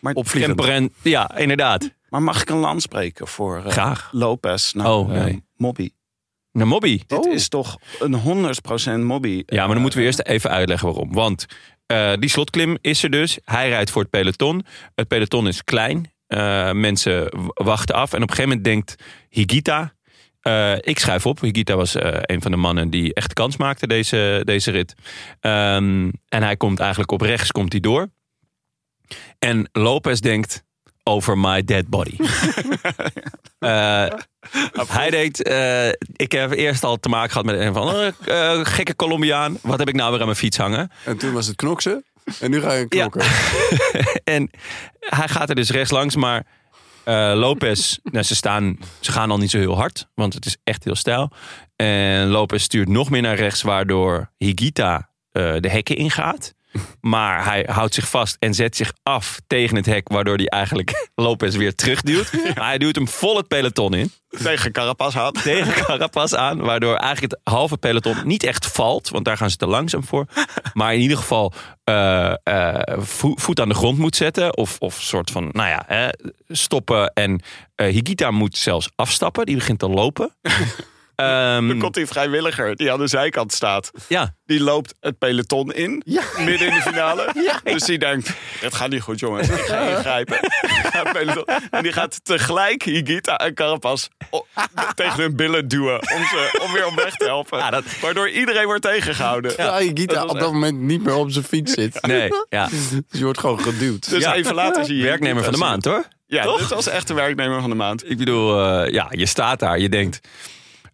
S1: maar,
S2: opvliegend.
S3: Temperent. Ja, inderdaad.
S1: maar mag ik een land spreken voor eh,
S3: Graag.
S1: Lopez? Nou,
S3: Oh,
S1: eh,
S3: nee.
S1: Mobby.
S3: Naar Mobby.
S1: Dit
S2: Oh.
S1: is toch een 100% Mobby.
S3: Ja, maar
S1: eh,
S3: dan moeten we eerst even uitleggen waarom. Want eh, die slotklim is er dus. Hij rijdt voor het peloton. Het peloton is klein. Eh, mensen w- wachten af. En op een gegeven moment denkt Higita... eh, ik schuif op. Higita was eh, een van de mannen die echt kans maakte deze, deze rit. Ehm, en hij komt eigenlijk op rechts komt hij door. En Lopez denkt... Over my dead body. Eh, hij denkt, eh, ik heb eerst al te maken gehad met een van andere eh, gekke Colombiaan. Wat heb ik nou weer aan mijn fiets hangen?
S2: En toen was het knoksen. En nu ga je knokken.
S3: En hij gaat er dus rechts langs, maar eh, Lopez, nou, ze, staan, ze gaan al niet zo heel hard, want het is echt heel stijl. En Lopez stuurt nog meer naar rechts, waardoor Higita eh, de hekken ingaat. Maar hij houdt zich vast en zet zich af tegen het hek, waardoor hij eigenlijk Lopez weer terugduwt. Maar hij duwt hem vol het peloton in.
S1: Tegen Carapaz had.
S3: tegen Carapaz aan. Waardoor eigenlijk het halve peloton niet echt valt. Want daar gaan ze te langzaam voor. Maar in ieder geval eh, eh, vo- voet aan de grond moet zetten. Of, of soort van, nou ja, hè, stoppen. En eh, Higita moet zelfs afstappen. Die begint te lopen. Ehm,
S1: Dan komt die vrijwilliger die aan de zijkant staat.
S3: ja,
S1: Die loopt het peloton in. Midden in de finale. Dus die denkt, het gaat niet goed jongens. Ik ga ingrijpen. Ik ga het peloton- en die gaat tegelijk Higita en Carapaz o- tegen hun billen duwen. Om, ze, eh, om weer op weg te helpen.
S3: Ja, dat-
S1: Waardoor iedereen wordt tegengehouden.
S2: Ja, je Gita op dat moment niet meer op zijn fiets zit.
S3: nee, ja.
S2: Dus je wordt gewoon geduwd.
S1: Dus
S3: Ja.
S1: even later zie je
S3: Werknemer van
S1: Higuita
S3: de maand hoor.
S1: Ja,
S3: Toch?
S1: dit was echt de werknemer van de maand.
S3: Ik bedoel, eh, ja, je staat daar. Je denkt,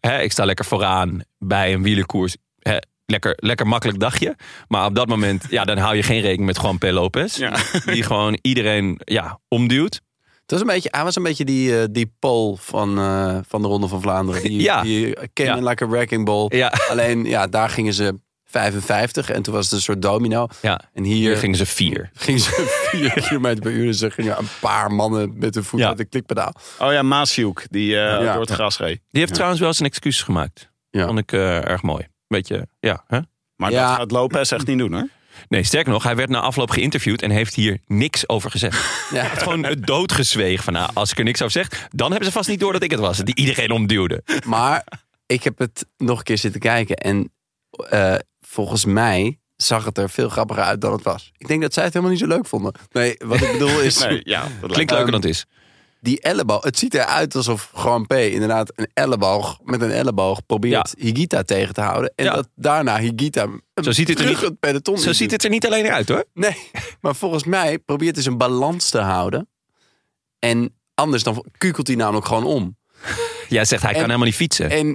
S3: hè, ik sta lekker vooraan bij een wielerkoers. Hè, lekker, lekker makkelijk dagje. Maar op dat moment, ja, dan hou je geen rekening met Juan P. Lopez.
S1: Ja.
S3: Die gewoon iedereen ja, omduwt.
S2: Dat was een beetje, hij was een beetje die, eh, die Paul van, eh, van de Ronde van Vlaanderen. Die,
S3: Ja.
S2: die kennen
S3: Ja.
S2: like a wrecking ball.
S3: Ja.
S2: Alleen, ja, daar gingen ze 55 en toen was het een soort domino.
S3: Ja.
S2: En hier,
S3: Hier
S2: gingen
S3: gingen ze vier.
S2: ze 4 kilometer per uur. Dus er gingen een paar mannen met hun voet
S3: Ja.
S2: uit de klikpedaal.
S1: Oh ja, Maasjoek, die eh,
S2: Ja.
S1: door het gras reed.
S3: Die heeft trouwens wel zijn excuses gemaakt.
S2: Ja.
S3: Vond ik eh, erg mooi. Beetje, ja. Hè?
S1: Maar
S2: Ja.
S1: dat gaat Lopez echt niet doen hoor.
S3: Nee, sterker nog, hij werd na afloop geïnterviewd en heeft hier niks over gezegd.
S2: Ja.
S3: Het gewoon het doodgezweeg van, nou, als ik er niks over zeg, dan hebben ze vast niet door dat ik het was. Die iedereen omduwde.
S2: Maar ik heb het nog een keer zitten kijken. En eh, volgens mij zag het er veel grappiger uit dan het was. Ik denk dat zij het helemaal niet zo leuk vonden. Nee, wat ik bedoel is...
S1: Nee, ja, dat lijkt
S3: Klinkt
S1: me.
S3: leuker dan het is.
S2: die elleboog. Het ziet eruit alsof Grand P inderdaad een elleboog met een elleboog probeert Higita tegen te houden. En
S3: Ja.
S2: dat daarna Higita hem
S3: ziet het er
S2: terug
S3: niet-
S2: het peloton
S3: Zo
S2: in
S3: ziet
S2: duwt.
S3: het er niet alleen uit hoor.
S2: Nee, maar volgens mij probeert hij zijn balans te houden. En anders dan kukelt hij namelijk gewoon om.
S3: Jij zegt hij kan
S2: En-
S3: helemaal niet fietsen.
S2: En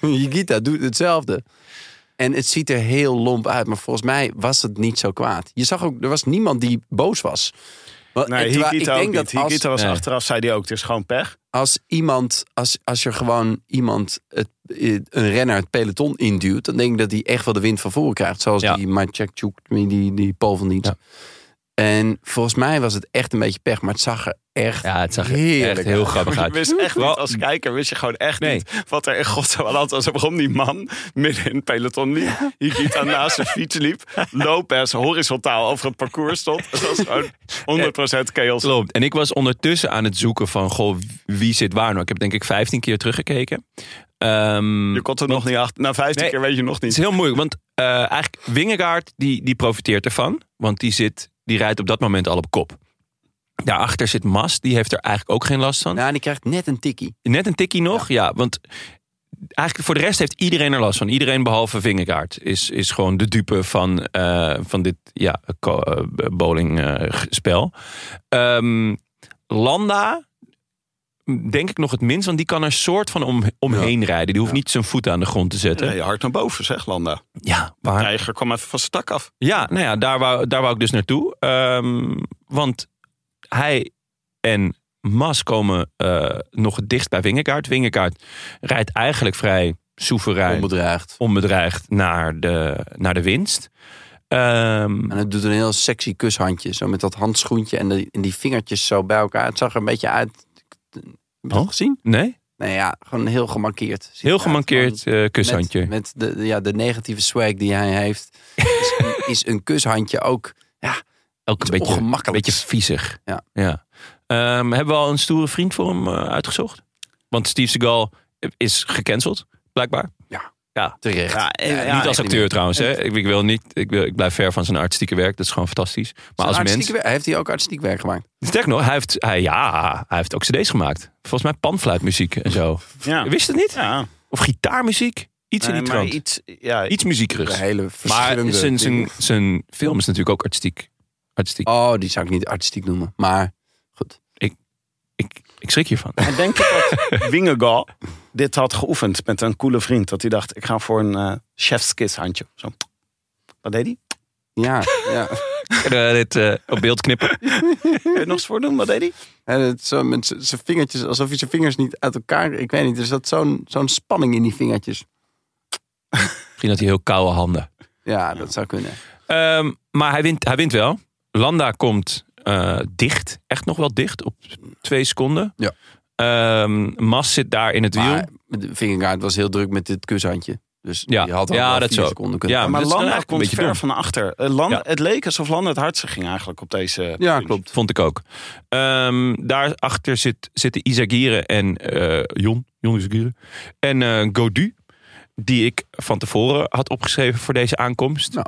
S2: Higita doet hetzelfde. En het ziet er heel lomp uit. Maar volgens mij was het niet zo kwaad. Je zag ook, er was niemand die boos was. Wel, en
S1: Nee,
S2: terwijl
S1: Higuita ook niet.
S2: als,
S1: Higuita was
S3: Nee.
S1: achteraf, zei hij ook, het is gewoon pech.
S2: als iemand, als, als er gewoon iemand, het, eh, een renner het peloton induwt, dan denk ik dat hij echt wel de wind van voren krijgt. Zoals
S3: Ja.
S2: die Matjekchuk, die, die Paul van Dienst.
S3: Ja.
S2: En volgens mij was het echt een beetje pech, maar het zag er echt
S3: Ja, het zag er
S2: heerlijk
S3: echt heel
S2: uit.
S3: grappig
S1: Je
S3: uit.
S1: wist echt niet,
S3: Wel-
S1: als kijker wist je gewoon echt
S3: Nee.
S1: niet wat er in godsnaam aan de hand was. En Waarom die man midden in het peloton liep. Higuita naast zijn fiets liep. Lopez horizontaal over het parcours stond. Het was gewoon 100% chaos.
S3: Klopt. En ik was ondertussen aan het zoeken van, goh, wie zit waar nou? Ik heb denk ik 15 keer teruggekeken. Ehm,
S1: Je kon er nog niet achter. Na 15
S3: Nee.
S1: keer weet je nog
S3: Het
S1: niet.
S3: is heel moeilijk, want eh, eigenlijk Wingegaard die, die profiteert ervan. Want die, zit, die rijdt op dat moment al op kop. Daarachter zit Mas, die heeft er eigenlijk ook geen last van.
S2: Nou, die krijgt net een tikkie.
S3: Net een tikkie nog, ja. want eigenlijk voor de rest heeft iedereen er last van. Iedereen behalve Vingegaard is, is gewoon de dupe van, eh, van dit ja, ko- eh, bowling eh, g- spel. Ehm, Landa denk ik nog het minst, want die kan er soort van om, omheen rijden. Die hoeft niet zijn voet aan de grond te zetten.
S1: Nee, hard naar boven, zeg Landa.
S3: Ja, waar,
S1: Tijger kwam even van zijn tak af.
S3: Ja, nou ja, daar wou, daar wou ik dus naartoe. Ehm, want hij en Mas komen eh, nog het dichtst bij Wingerkaart. Wingerkaart rijdt eigenlijk vrij soeverein,
S2: Onbedreigd.
S3: onbedreigd naar de, naar de winst. Ehm,
S2: En het doet een heel sexy kushandje. Zo met dat handschoentje en, de- en die vingertjes zo bij elkaar. Het zag er een beetje uit. Heb je dat
S3: Oh.
S2: gezien?
S3: nee,
S2: Nee, ja, gewoon heel gemankeerd. Ziet
S3: heel
S2: eruit.
S3: gemankeerd
S2: Gewoon
S3: eh, kushandje.
S2: Met, met de, de- ja, de negatieve swag die hij heeft. Is, is een kushandje ook. Ja,
S3: Ook een
S2: Het
S3: beetje, een
S2: ongemakkelijk.
S3: beetje viezig.
S2: Ja.
S3: Ja. Ehm, hebben we al een stoere vriend voor hem eh, uitgezocht? Want Steve Seagal is gecanceld, blijkbaar.
S2: terecht.
S1: Ja, en- ja,
S3: eh, niet als
S2: echt
S3: acteur
S2: meer.
S3: trouwens. Hè? Ik, ik wil niet, ik, wil, ik blijf ver van zijn artistieke werk. Dat is gewoon fantastisch. Maar
S2: Zijn
S3: als
S2: artistieke
S3: mens.
S2: werk- heeft hij ook artistiek werk gemaakt?
S3: Sterk nog, hij heeft, hij, ja, hij heeft ook cd's gemaakt. Volgens mij panfluitmuziek en zo.
S1: Ja.
S3: Je Wist het niet?
S1: Ja,
S3: Of gitaarmuziek? Iets
S1: Nee,
S3: in die
S1: maar
S3: trant. Iets,
S1: iets, ja,
S2: De
S3: muziekerigs.
S2: hele
S3: Maar
S2: verschillende
S3: zijn, zijn,
S2: dingen.
S3: zijn film is natuurlijk ook artistiek. artistiek.
S2: Oh, die zou ik niet artistiek noemen. Maar
S3: Ik, ik schrik hiervan.
S1: En denk je dat Wingegaal dit had geoefend met een coole vriend? Dat hij dacht, ik ga voor een eh chefskiss handje. Zo. Wat deed hij?
S2: ja, ja.
S3: Kunnen we dit eh, op beeld knippen?
S1: Kun je het nog eens voordoen? Wat deed hij?
S2: En het zo met z- zijn vingertjes, alsof je zijn vingers niet uit elkaar. Ik weet niet, er zat zo'n zo'n spanning in die vingertjes.
S3: Misschien had hij heel koude handen.
S2: Ja, dat zou kunnen.
S3: Ehm, maar hij wint, hij wint wel. Landa komt eh, dicht. Echt nog wel dicht. Op twee seconden.
S2: Ja.
S3: Ehm, Mas zit daar in het wiel.
S2: Maar de vingerkaart was heel druk met dit kushandje. Dus
S3: Ja.
S2: die had al
S3: Ja,
S2: wel
S3: dat
S2: vier
S3: zo.
S2: seconden kunnen.
S3: Ja,
S1: maar
S3: dat is
S1: Landa
S3: eigenlijk een
S1: komt
S3: beetje
S1: ver
S3: dom.
S1: van achter. Eh, Landa,
S3: Ja.
S1: Het leek alsof Landa het hardste ging eigenlijk op deze...
S2: Ja, klopt.
S3: Vond ik ook. Ehm, daarachter zit, zitten Isagire en eh, Jon. Jon Isagire. En eh Godu. Die ik van tevoren had opgeschreven voor deze aankomst.
S2: Ja.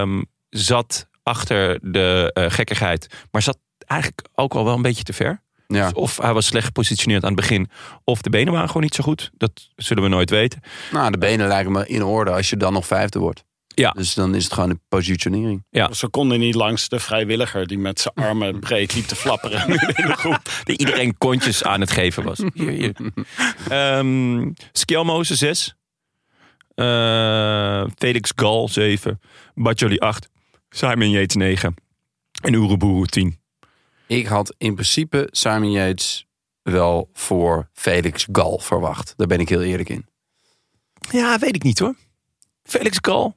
S3: Ehm, zat achter de eh, gekkigheid. Maar zat eigenlijk ook al wel een beetje te ver.
S2: Ja.
S3: Dus of hij was slecht gepositioneerd aan het begin. Of de benen waren gewoon niet zo goed. Dat zullen we nooit weten.
S2: Nou, de benen lijken me in orde als je dan nog vijfde wordt.
S3: Ja.
S2: Dus dan is het gewoon een positionering.
S1: Ze konden niet langs de vrijwilliger die met zijn armen breed liep te flapperen. in de groep.
S3: Dat iedereen kontjes aan het geven was. Hier, hier. Ehm, Skelmo is een 6. Eh, Felix Gal 7. Bajoli 8. Simon Yates 9. En Oeroboeroe 10.
S2: Ik had in principe Simon Yates wel voor Felix Gal verwacht. Daar ben ik heel eerlijk in.
S3: Ja, weet ik niet hoor. Felix Gal.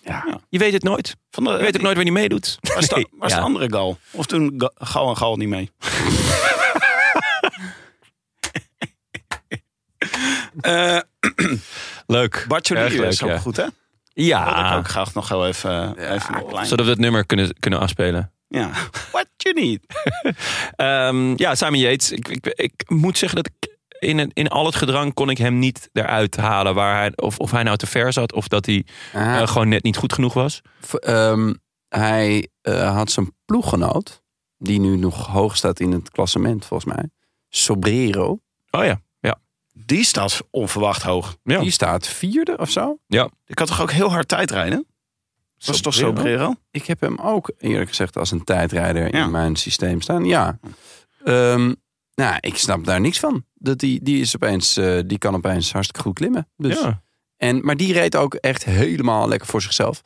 S1: Ja.
S3: Je weet het nooit.
S1: Van de,
S3: Je weet ook nooit waar hij meedoet.
S1: Waar is, de-
S3: Nee,
S1: waar is de
S3: ja.
S1: andere Gal? Of toen Ga- Gal en Gal niet mee? Eh
S3: Leuk. Erg
S1: Bartjoli
S3: leuk,
S1: is ook
S3: ja.
S1: goed, hè? Dat ik
S3: Ja.
S1: ook graag nog heel even, even nog klein.
S3: Zodat we het nummer kunnen, kunnen afspelen.
S1: Ja. What you need.
S3: Ehm, ja, Simon Yates. Ik, ik, ik moet zeggen dat ik in, het- in al het gedrang kon ik hem niet eruit halen. Waar hij, of, of hij nou te ver zat of dat hij
S2: Ah,
S3: eh, gewoon net niet goed genoeg was.
S2: v- ehm, hij eh, had zijn ploeggenoot, die nu nog hoog staat in het klassement volgens mij. Sobrero.
S3: Oh ja. Ja.
S1: Die staat onverwacht hoog.
S3: ja.
S2: Die staat vierde of zo.
S1: Ik had toch ook heel hard tijdrijden? Dat is toch zo, Brero?
S2: Ik heb hem ook eerlijk gezegd als een tijdrijder
S1: Ja.
S2: in mijn systeem staan. Ja. Ehm, nou, ik snap daar niks van. Dat die, die, is opeens, eh, die kan opeens hartstikke goed klimmen. Dus
S3: Ja.
S2: En, maar die reed ook echt helemaal lekker voor zichzelf.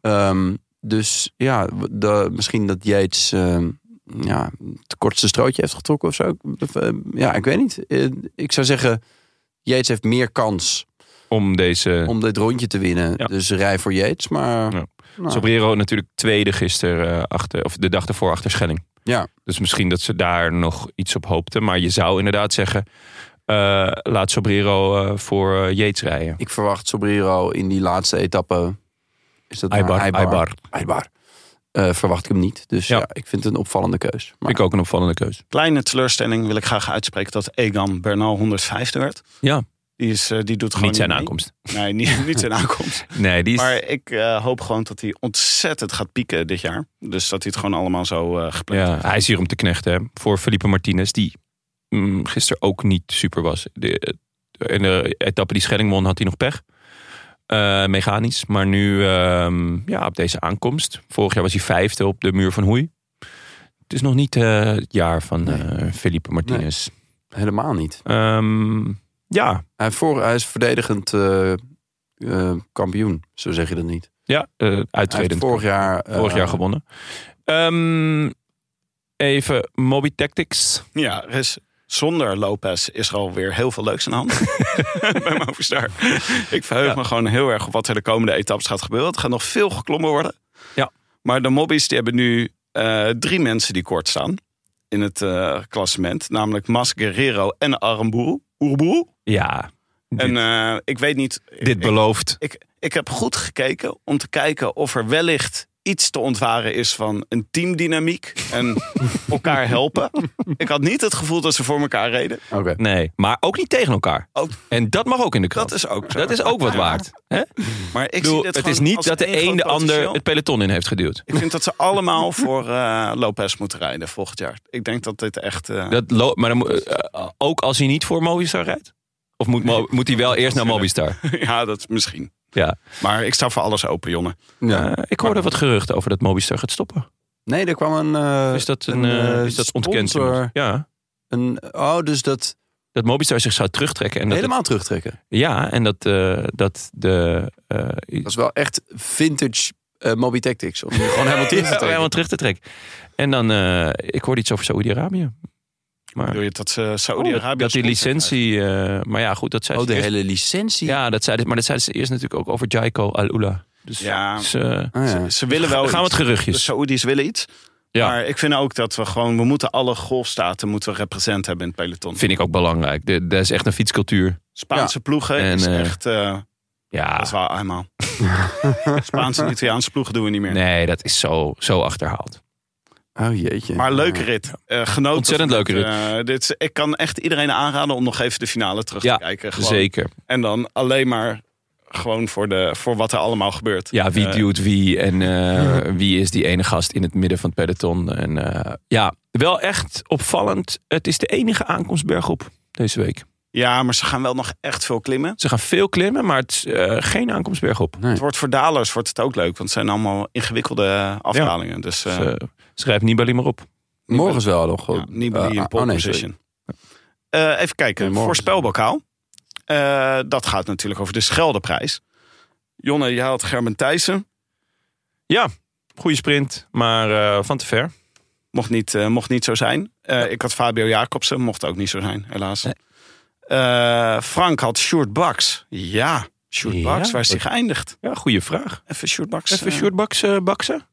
S2: Ehm, dus ja, w- de, misschien dat Yates ehm, ja, het kortste strootje heeft getrokken of zo. Of, eh, ja, ik weet niet. Eh, ik zou zeggen, Yates heeft meer kans
S3: Om deze...
S2: om dit rondje te winnen.
S3: Ja.
S2: Dus rij voor Yates. Maar
S3: Ja.
S2: nou,
S3: Sobrero natuurlijk tweede gisteren eh, achter, of de dag ervoor achter Schelling.
S2: Ja.
S3: Dus misschien dat ze daar nog iets op hoopten. Maar je zou inderdaad zeggen, eh, laat Sobrero eh, voor eh, Yates rijden.
S2: ik verwacht Sobrero in die laatste etappe. Is dat nou
S3: Aibar, Aibar.
S2: Aibar. Eh, verwacht ik hem niet. Dus ja.
S3: Ja.
S2: ik vind het een opvallende keus. Maar
S3: Vind ik ook een opvallende keus.
S1: Kleine teleurstelling wil ik graag uitspreken dat Egan Bernal 105e werd.
S3: Ja,
S1: Die, is, eh, die doet gewoon
S3: niet zijn
S1: mee.
S3: aankomst.
S1: Nee, niet, niet zijn aankomst.
S3: Nee, die is...
S1: Maar ik eh, hoop gewoon dat hij ontzettend gaat pieken dit jaar. Dus dat hij het gewoon allemaal zo eh gepland
S3: ja, hij is hier om te knechten. Hè. Voor Felipe Martinez, die mm, gisteren ook niet super was. De, eh, in de etappe die Schelling won, had hij nog pech. Eh, mechanisch. Maar nu, ehm, ja, op deze aankomst. Vorig jaar was hij vijfde op de muur van Hoei. Het is nog niet eh, het jaar van eh Felipe Martinez.
S2: helemaal niet.
S3: Ehm, ja,
S2: Hij, heeft voor, hij is verdedigend eh, eh, kampioen, zo zeg je dat niet.
S3: ja eh
S2: Hij heeft
S3: uittredend.
S2: vorig jaar, eh,
S3: Vorig jaar gewonnen. Ehm, even Moby Tactics.
S1: Ja, er is- zonder Lopez is er alweer heel veel leuks aan de hand. Bij Movistar. Ik verheug me gewoon heel erg op wat er de komende etappes gaat gebeuren. Het gaat nog veel geklommen worden.
S3: Ja.
S1: Maar de mobbies die hebben nu eh, drie mensen die kort staan in het eh, klassement. Namelijk Mas Guerrero en Armboer. Oerboer.
S3: Ja,
S1: En eh, ik weet niet...
S3: dit
S1: ik,
S3: belooft.
S1: ik, ik heb goed gekeken om te kijken of er wellicht iets te ontwaren is van een teamdynamiek en elkaar helpen. Ik had niet het gevoel dat ze voor elkaar reden.
S2: Oké.
S3: Nee, maar ook niet tegen elkaar.
S1: Ook-
S3: En dat mag ook in de krant.
S1: Dat is ook zo.
S3: Dat is ook wat waard. Hè? Ik
S1: Maar ik
S3: bedoel,
S1: zie dit
S3: het
S1: gewoon
S3: is niet
S1: als
S3: dat de
S1: één
S3: een
S1: groot
S3: de ander
S1: potentieel.
S3: het peloton in heeft geduwd.
S1: Ik vind dat ze allemaal voor eh, Lopez moeten rijden volgend jaar. Ik denk dat dit echt... eh,
S3: Dat lo- maar dan, moet- eh, eh, ook als hij niet voor Movistar rijdt? Of moet, Mo- moet hij wel eerst naar Movistar?
S1: ja, dat is misschien.
S3: Ja.
S1: Maar ik sta voor alles open, jongen.
S2: Ja.
S3: Eh, ik hoorde wat geruchten over dat Movistar gaat stoppen.
S2: Nee, er kwam een... eh,
S3: Is dat, een,
S2: een,
S3: eh,
S2: eh,
S3: is dat ontkend?
S2: sponsor.
S3: iemand? Ja,
S2: een oh, dus dat
S3: dat Movistar zich zou terugtrekken. En dat
S2: helemaal terugtrekken.
S3: het- ja, en dat, eh, dat de... eh,
S2: Dat is wel echt vintage eh Moby Tactics. Om gewoon helemaal terug te
S3: Ja,
S2: trekken.
S3: helemaal terug te trekken. En dan, eh, ik hoorde iets over Saoedi-Arabië. Maar,
S1: Wil je dat ze
S3: Oh, dat-
S1: Saudi-Arabië...
S3: dat die
S1: sponsor
S3: licentie... eh, maar ja, goed, dat zei
S2: Oh,
S3: ze
S2: de
S3: eerst-
S2: hele licentie.
S3: Ja, dat zeiden, maar dat zeiden ze eerst natuurlijk ook over Jaiko Al-Ula. Dus,
S1: Ja.
S3: dus, eh,
S2: Ah, ja.
S1: krijgt. Ze willen wel
S3: dan gaan we
S1: iets.
S3: het
S1: De
S3: geruchtjes.
S1: Saoedi's willen iets.
S3: Ja.
S1: Maar ik vind ook dat we gewoon... We moeten alle golfstaten moeten we represent hebben in het peloton.
S3: Vind ik ook belangrijk. De- Dat is echt een fietscultuur.
S1: Spaanse ploegen
S3: En,
S1: is
S3: eh, Ah.
S1: echt... eh,
S3: Ja,
S1: Dat is wel eenmaal. Spaanse en Italiaanse ploegen doen we niet meer.
S3: nee, dat is zo, zo achterhaald.
S2: Oh jeetje.
S1: Maar leuke rit. Eh genoten.
S3: Ontzettend
S1: van
S3: leuke
S1: dit. Eh, dit is- ik kan echt iedereen aanraden om nog even de finale terug
S3: Ja,
S1: te kijken. gewoon.
S3: Zeker.
S1: En dan alleen maar gewoon voor, de, voor wat er allemaal gebeurt.
S3: Ja, wie
S1: Eh,
S3: duwt wie en eh, wie is die ene gast in het midden van het peloton. En, eh, ja, wel echt opvallend. Het is de enige aankomst bergop deze week.
S1: Ja, maar ze gaan wel nog echt veel klimmen.
S3: Ze gaan veel klimmen, maar het is eh, geen aankomst bergop.
S1: Het wordt voor dalers wordt het ook leuk, want het zijn allemaal ingewikkelde afdalingen. Dus eh
S3: Dus, eh, schrijf Nibali maar op.
S2: Morgen is wel nog.
S1: ja, niet meer
S2: Eh,
S1: in
S2: ah,
S1: pole
S2: oh, nee, sorry.
S1: position. Eh, even
S2: Nee,
S1: kijken,
S2: morgen.
S1: voorspelbokaal. Eh, dat gaat natuurlijk over de Scheldeprijs. Jonne, je haalt Gerben Thijssen.
S3: Ja, goede sprint, maar eh, van te ver.
S1: Mocht niet, eh, mocht niet zo zijn. Eh, Ik had Fabio Jacobsen, mocht ook niet zo zijn, helaas. Eh, Frank had Sjoerd Baks. Ja, Sjoerd
S3: Ja.
S1: Baks, waar is hij geëindigd?
S3: Ja, goede vraag.
S1: Even Sjoerd Baks.
S3: Even
S1: eh,
S3: short baksen. baksen.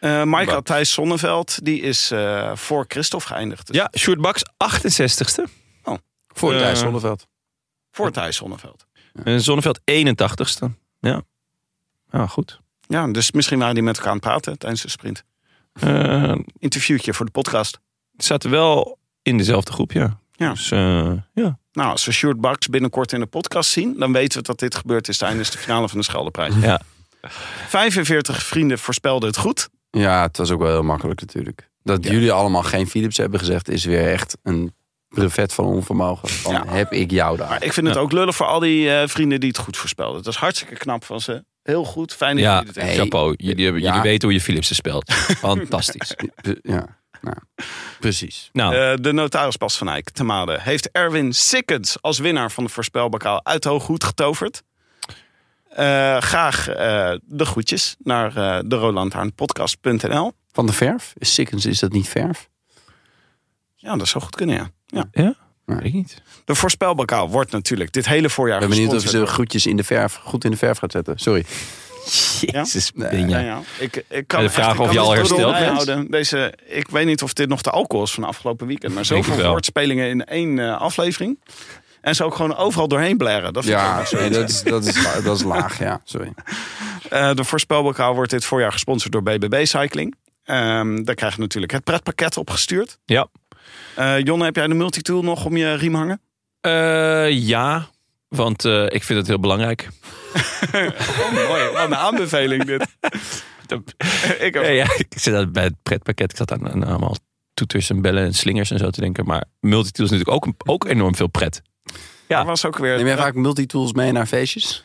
S1: eh, Mike had
S3: Baks.
S1: Thijs Sonneveld, die is eh, voor Christophe geëindigd. Dus
S3: Ja, short baks 68ste.
S2: Voor
S3: Eh,
S2: Thijs Zonneveld.
S1: Voor Thijs Sonneveld.
S3: En Zonneveld 81ste. Ja. Ja, goed.
S1: Ja, dus misschien waren die met elkaar aan het praten tijdens de sprint.
S3: Eh,
S1: Interviewtje voor de podcast.
S3: het zaten wel in dezelfde groep, ja.
S1: Ja.
S3: Dus, eh, ja.
S1: Nou, als we Sjoerd Baks binnenkort in de podcast zien... dan weten we dat dit gebeurd is tijdens de finale van de Scheldeprijs.
S3: Ja.
S1: 45 vrienden voorspelden het goed.
S2: Ja, het was ook wel heel makkelijk natuurlijk. Dat jullie allemaal geen Philips hebben gezegd is weer echt een brevet van onvermogen. Van
S1: Ja.
S2: heb ik jou daar.
S1: Maar ik vind het ook lullig voor al die eh, vrienden die het goed voorspelden. Dat is hartstikke knap van ze. Heel goed, fijn dat
S3: ja,
S1: jullie het
S2: hey.
S1: hebben.
S3: chapeau. Jullie, hebben,
S2: Ja.
S3: jullie weten hoe je Philipsen speelt. Fantastisch.
S2: Pre- Ja, nou, precies.
S3: Nou,
S1: Eh, de notaris Bas van Eyck, te Made, heeft Erwin Sikkens als winnaar van de voorspelbokaal uit Hooghoed getoverd. Eh, graag eh, de groetjes naar eh de rolandhaarnpodcast.nl.
S2: Van de verf? Is Sikkens, is dat niet verf?
S1: Ja, dat zou goed kunnen, ja. ja.
S3: Ja?
S2: Nee.
S3: Weet ik niet.
S1: De voorspelbokaal wordt natuurlijk dit hele voorjaar
S2: Ik ben benieuwd of je
S1: gesponsord
S2: ze groetjes in de verf, goed in de verf gaat zetten. Sorry.
S3: Jezus,
S2: Nee.
S3: ben
S1: Ja,
S3: jij.
S1: ja. Ik, ik kan
S3: En de
S1: echt-
S3: vraag
S1: ik
S3: of
S1: kan
S3: je
S1: het
S3: al
S1: tot
S3: hersteld bent?
S1: bijhouden. Deze, ik weet niet of dit nog de alcohol is van de afgelopen weekend. Maar
S3: Denk het
S1: zoveel
S3: wel.
S1: woordspelingen in één eh, aflevering. En ze ook gewoon overal doorheen blaren. Dat vind ik
S2: Ja,
S1: ook zo.
S2: nee, dat, is, dat, is, la- dat is laag, ja. Sorry.
S1: Eh, de voorspelbokaal wordt dit voorjaar gesponsord door BBB Cycling. Ehm, daar krijg je natuurlijk het pretpakket opgestuurd.
S3: Ja.
S1: Eh Jonne, heb jij de multitool nog om je riem hangen?
S3: Eh, ja, want eh, ik vind het heel belangrijk.
S1: Mooi, wat een aanbeveling dit. ik ook.
S3: Ja, ja, ik zit aan- bij het pretpakket. Ik zat aan, aan allemaal toeters en bellen en slingers en zo te denken. Maar multitool is natuurlijk ook, ook enorm veel pret.
S1: Er was ook weer...
S2: Neem jij vaak multitools mee naar feestjes?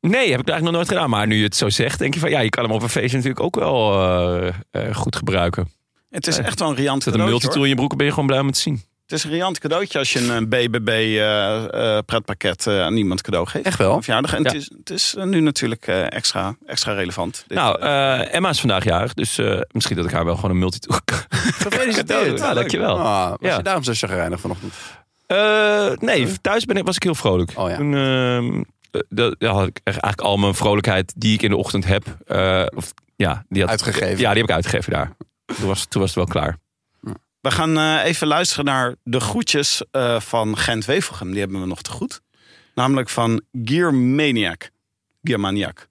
S3: Nee, heb ik eigenlijk nog nooit gedaan. Maar nu je het zo zegt, denk je van ja, je kan hem op een feestje natuurlijk ook wel eh, eh, goed gebruiken.
S1: het is echt wel een riant
S3: Zet een
S1: cadeautje.
S3: multitool
S1: hoor.
S3: in je broek en ben je gewoon blij om het te zien.
S1: Het is een riant cadeautje als je een BBB eh, eh, pretpakket eh, aan iemand cadeau geeft.
S2: Echt wel?
S1: Op verjaardag. En
S3: Ja.
S1: het, is, het is eh, nu natuurlijk eh, extra, extra relevant. Dit,
S3: nou,
S1: eh,
S3: eh, Emma is vandaag jarig, dus eh, misschien dat ik haar wel gewoon een multitool kan.
S2: Gefeliciteerd.
S3: Ja, dankjewel.
S2: Ah, was
S3: Ja.
S2: je daarom zo chagrijnig vanochtend?
S3: Eh, nee, thuis ben ik, was ik heel vrolijk.
S2: Oh ja.
S3: Toen ehm, eh, dat, ja, had ik echt eigenlijk al mijn vrolijkheid die ik in de ochtend heb. eh, of, ja, die had,
S2: Uitgegeven.
S3: Ja, die heb ik uitgegeven daar. Toen was, toen was het wel klaar.
S1: we gaan eh, even luisteren naar de groetjes eh, van Gent Wevelgem. Die hebben we nog te goed. Namelijk van Gearmaniac. Gearmaniac.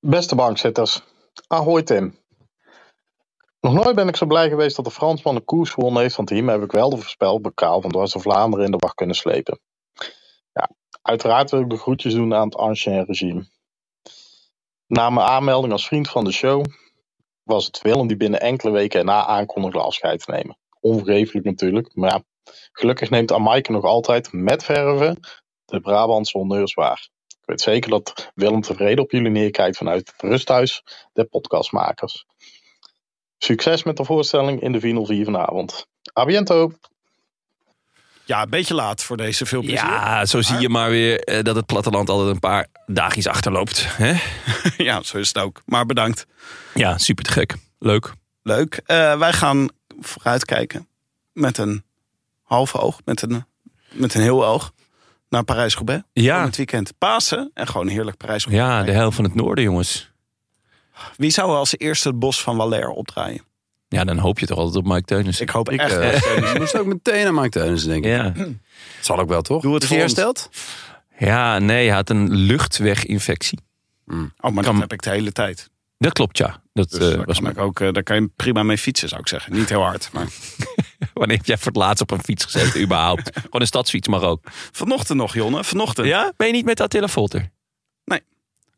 S5: Beste bankzitters, ahoy Tim. Nog nooit ben ik zo blij geweest dat de Fransman de koers gewonnen heeft, want hiermee heb ik wel de voorspelbokaal van Dwars door Vlaanderen in de wacht kunnen slepen. Ja, uiteraard wil ik de groetjes doen aan het ancien regime. Na mijn aanmelding als vriend van de show was het Willem die binnen enkele weken erna aankondigde afscheid te nemen. Onvergeeflijk natuurlijk, maar ja, gelukkig neemt Amaike nog altijd met verven de Brabantse honneurs waar. Ik weet zeker dat Willem tevreden op jullie neerkijkt vanuit het rusthuis der podcastmakers. Succes met de voorstelling in de Vinyl 4 vanavond. A biento!
S1: Ja, een beetje laat voor deze veel plezier.
S3: Ja, zo zie je maar weer eh, dat het platteland altijd een paar dagjes achterloopt. Hè?
S1: ja, zo is het ook. Maar bedankt.
S3: Ja, super te gek. Leuk.
S1: Leuk. Eh, wij gaan vooruitkijken met een halve oog, met een, met een heel oog naar Parijs-Roubaix.
S3: Ja.
S1: Het weekend Pasen en gewoon heerlijk Parijs-Roubaix.
S3: Ja, de hel van het noorden, jongens.
S1: Wie zou er als eerste het bos van Valère opdraaien? Oh,
S3: Ja, dan hoop je toch altijd op Mike Teunissen.
S1: Ik hoop
S2: Ik
S1: echt.
S2: eh, moest ook meteen aan Mike Teunissen denken.
S3: Ja.
S2: Het zal ook wel, toch?
S1: Doe het
S2: Is
S1: voor
S2: hij
S1: ons.
S2: hersteld?
S3: ja, nee, hij had een luchtweginfectie.
S1: Oh, maar
S3: Kan-
S1: dat heb ik de hele tijd.
S3: Dat klopt, ja. Dat
S1: Dus
S3: eh,
S1: daar,
S3: was
S1: kan
S3: maar.
S1: ik ook, eh, daar kan je prima mee fietsen, zou ik zeggen. Niet heel hard. Maar
S3: Wanneer heb jij voor het laatst op een fiets gezeten, überhaupt? Gewoon een stadsfiets mag ook.
S1: vanochtend nog, Jonne. Vanochtend.
S3: Ja? Ben je niet met Attila Volter?
S1: Nee.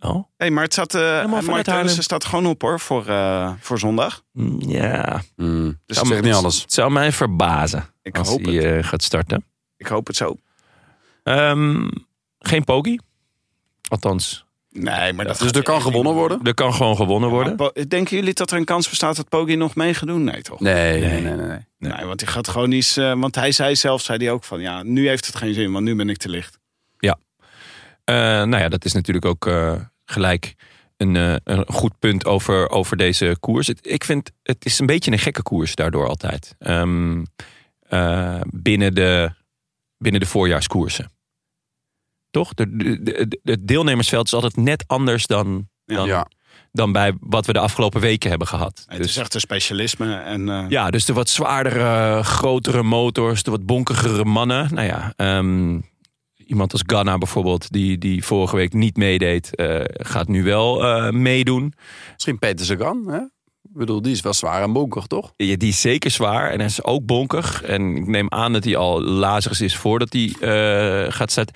S3: Oh?
S1: Hey, maar het staat, eh
S3: vanuit
S1: Mark
S3: Haarlem.
S1: Teunissen staat gewoon op hoor, voor, eh, voor zondag.
S3: Mm, Ja.
S2: Mm,
S1: Dus
S2: dat
S1: het-
S2: zegt niet alles.
S3: Het zou mij verbazen
S1: Ik
S3: als
S1: hoop
S3: hij
S1: het.
S3: eh, gaat starten.
S1: Ik hoop het zo.
S3: Ehm, geen pogie. Althans,
S1: Nee, maar dat
S2: Dus
S1: gaat
S2: er kan
S1: echt
S2: gewonnen
S1: niet.
S2: worden?
S3: er kan gewoon gewonnen worden.
S1: Maar po- Denken jullie dat er een kans bestaat dat Poggi nog mee gaat doen? Nee, toch?
S2: Nee, nee, nee. nee, nee.
S1: Nee, want hij gaat gewoon iets. eh, want hij zei zelf, zei hij ook van ja, nu heeft het geen zin, want nu ben ik te licht.
S3: Eh, nou ja, dat is natuurlijk ook eh, gelijk een, eh, een goed punt over, over deze koers. Het, ik vind het is een beetje een gekke koers daardoor altijd. Ehm, eh, binnen, de, binnen de voorjaarskoersen. Toch? De, de, de- de- het deelnemersveld is altijd net anders dan, dan,
S2: Ja.
S3: dan bij wat we de afgelopen weken hebben gehad.
S1: Het
S3: Dus-
S1: is echt een specialisme. En, eh,
S3: ja, dus de wat zwaardere, grotere motors, de wat bonkigere mannen. Nou ja, ehm, iemand als Ghana bijvoorbeeld, die, die vorige week niet meedeed, eh, gaat nu wel eh, meedoen.
S2: Misschien Peter Sagan, hè? Ik bedoel, die is wel zwaar en bonkig, toch?
S3: Ja, die is zeker zwaar en hij is ook bonkig. En ik neem aan dat hij al lazig is voordat hij eh, gaat starten.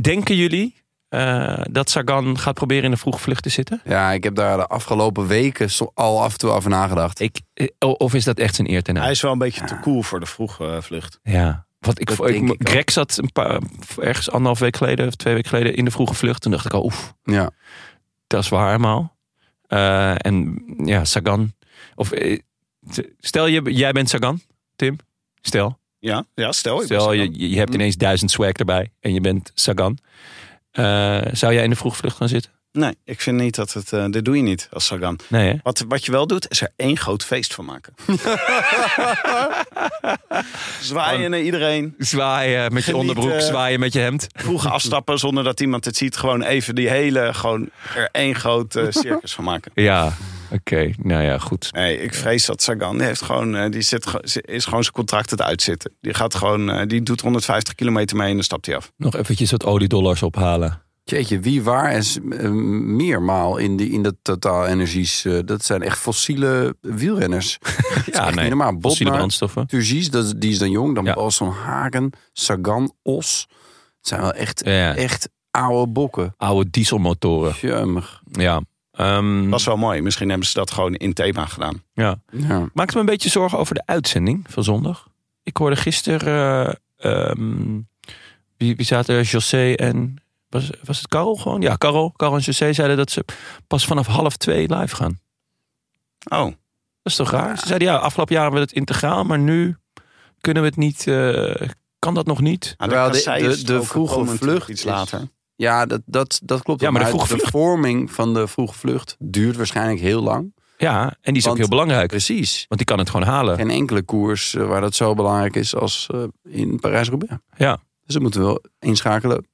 S3: Denken jullie eh, dat Sagan gaat proberen in de vroege vlucht te zitten?
S2: Ja, ik heb daar de afgelopen weken zo- al af en toe over nagedacht.
S3: Ik, eh, of is dat echt zijn eer ten
S1: Hij
S3: aan?
S1: is wel een beetje te cool voor de vroege eh, vlucht.
S3: Ja. Wat ik,
S2: Dat
S3: vo- ik-
S2: denk ik ook.
S3: Greg zat een paar, ergens anderhalf week geleden of twee weken geleden in de vroege vlucht. Toen dacht ik al, oef,
S2: Ja.
S3: dat is waar helemaal. Eh, en ja, Sagan. Of, eh, t- stel, je, jij bent Sagan, Tim. Stel,
S1: Ja, ja stel. ik ben
S3: stel
S1: zo dan.
S3: Mm. je, je hebt ineens duizend swag erbij en je bent Sagan. Eh, Eh, zou jij in de vroege vlucht gaan zitten?
S1: Nee, ik vind niet dat het. eh dit doe je niet als Sagan.
S3: Nee, hè?
S1: Wat, wat je wel doet, is er één groot feest van maken. Zwaaien naar iedereen.
S3: Zwaaien met je
S1: Geniet,
S3: onderbroek,
S1: eh,
S3: zwaaien met je hemd.
S1: Vroeg afstappen zonder dat iemand het ziet. Gewoon even die hele. Gewoon er één groot eh, circus van maken.
S3: Ja, oké. Nou ja, goed.
S1: Nee, ik vrees dat Sagan die heeft gewoon, eh, die zit, ge- ze- is gewoon zijn contract het uitzitten. Die gaat gewoon, eh, die doet 150 kilometer mee en dan stapt hij af.
S3: Nog eventjes wat oliedollars ophalen.
S2: Jeetje, wie waar en s- eh, meermaal in, die, in dat totaal energies. eh, dat zijn echt fossiele wielrenners.
S3: Ja,
S2: nee. Helemaal
S3: Fossiele
S2: Botman,
S3: brandstoffen.
S2: Turgis, dat, is- die is dan jong. Dan
S3: Ja.
S2: Balson Hagen, Sagan, Os. Het zijn wel echt,
S3: Ja.
S2: echt oude bokken.
S3: Oude dieselmotoren.
S2: Jummig.
S3: Ja. Ehm,
S1: Dat is wel mooi. Misschien hebben ze dat gewoon in thema gedaan.
S3: ja.
S2: Ja.
S3: Maakt me een beetje zorgen over de uitzending van zondag. Ik hoorde gisteren... eh, ehm, wie, wie zaten er? José en... Was, was het Karel gewoon? Ja, Karel. Karel en José zeiden dat ze pas vanaf half twee live gaan.
S1: Oh,
S3: Dat is toch raar? Ze zeiden ja, afgelopen jaar hebben we het integraal, maar nu kunnen we het niet. eh, kan dat nog niet?
S1: nou,
S2: Terwijl de-
S1: kasseistroken
S2: de- de vroege
S1: komen natuurlijk
S2: vlucht
S1: iets
S2: is-
S1: later.
S2: Ja, dat, dat, dat klopt.
S3: Ja, maar de vroege
S2: de
S3: vlucht-
S2: vorming van de vroege vlucht duurt waarschijnlijk heel lang.
S3: Ja, en die is ook
S2: Want-
S3: heel belangrijk. Want
S2: Precies.
S3: die kan het gewoon halen.
S2: Geen enkele koers eh, waar dat zo belangrijk is als eh, in Parijs-Roubaix.
S3: Ja.
S2: Dus dan moeten we wel inschakelen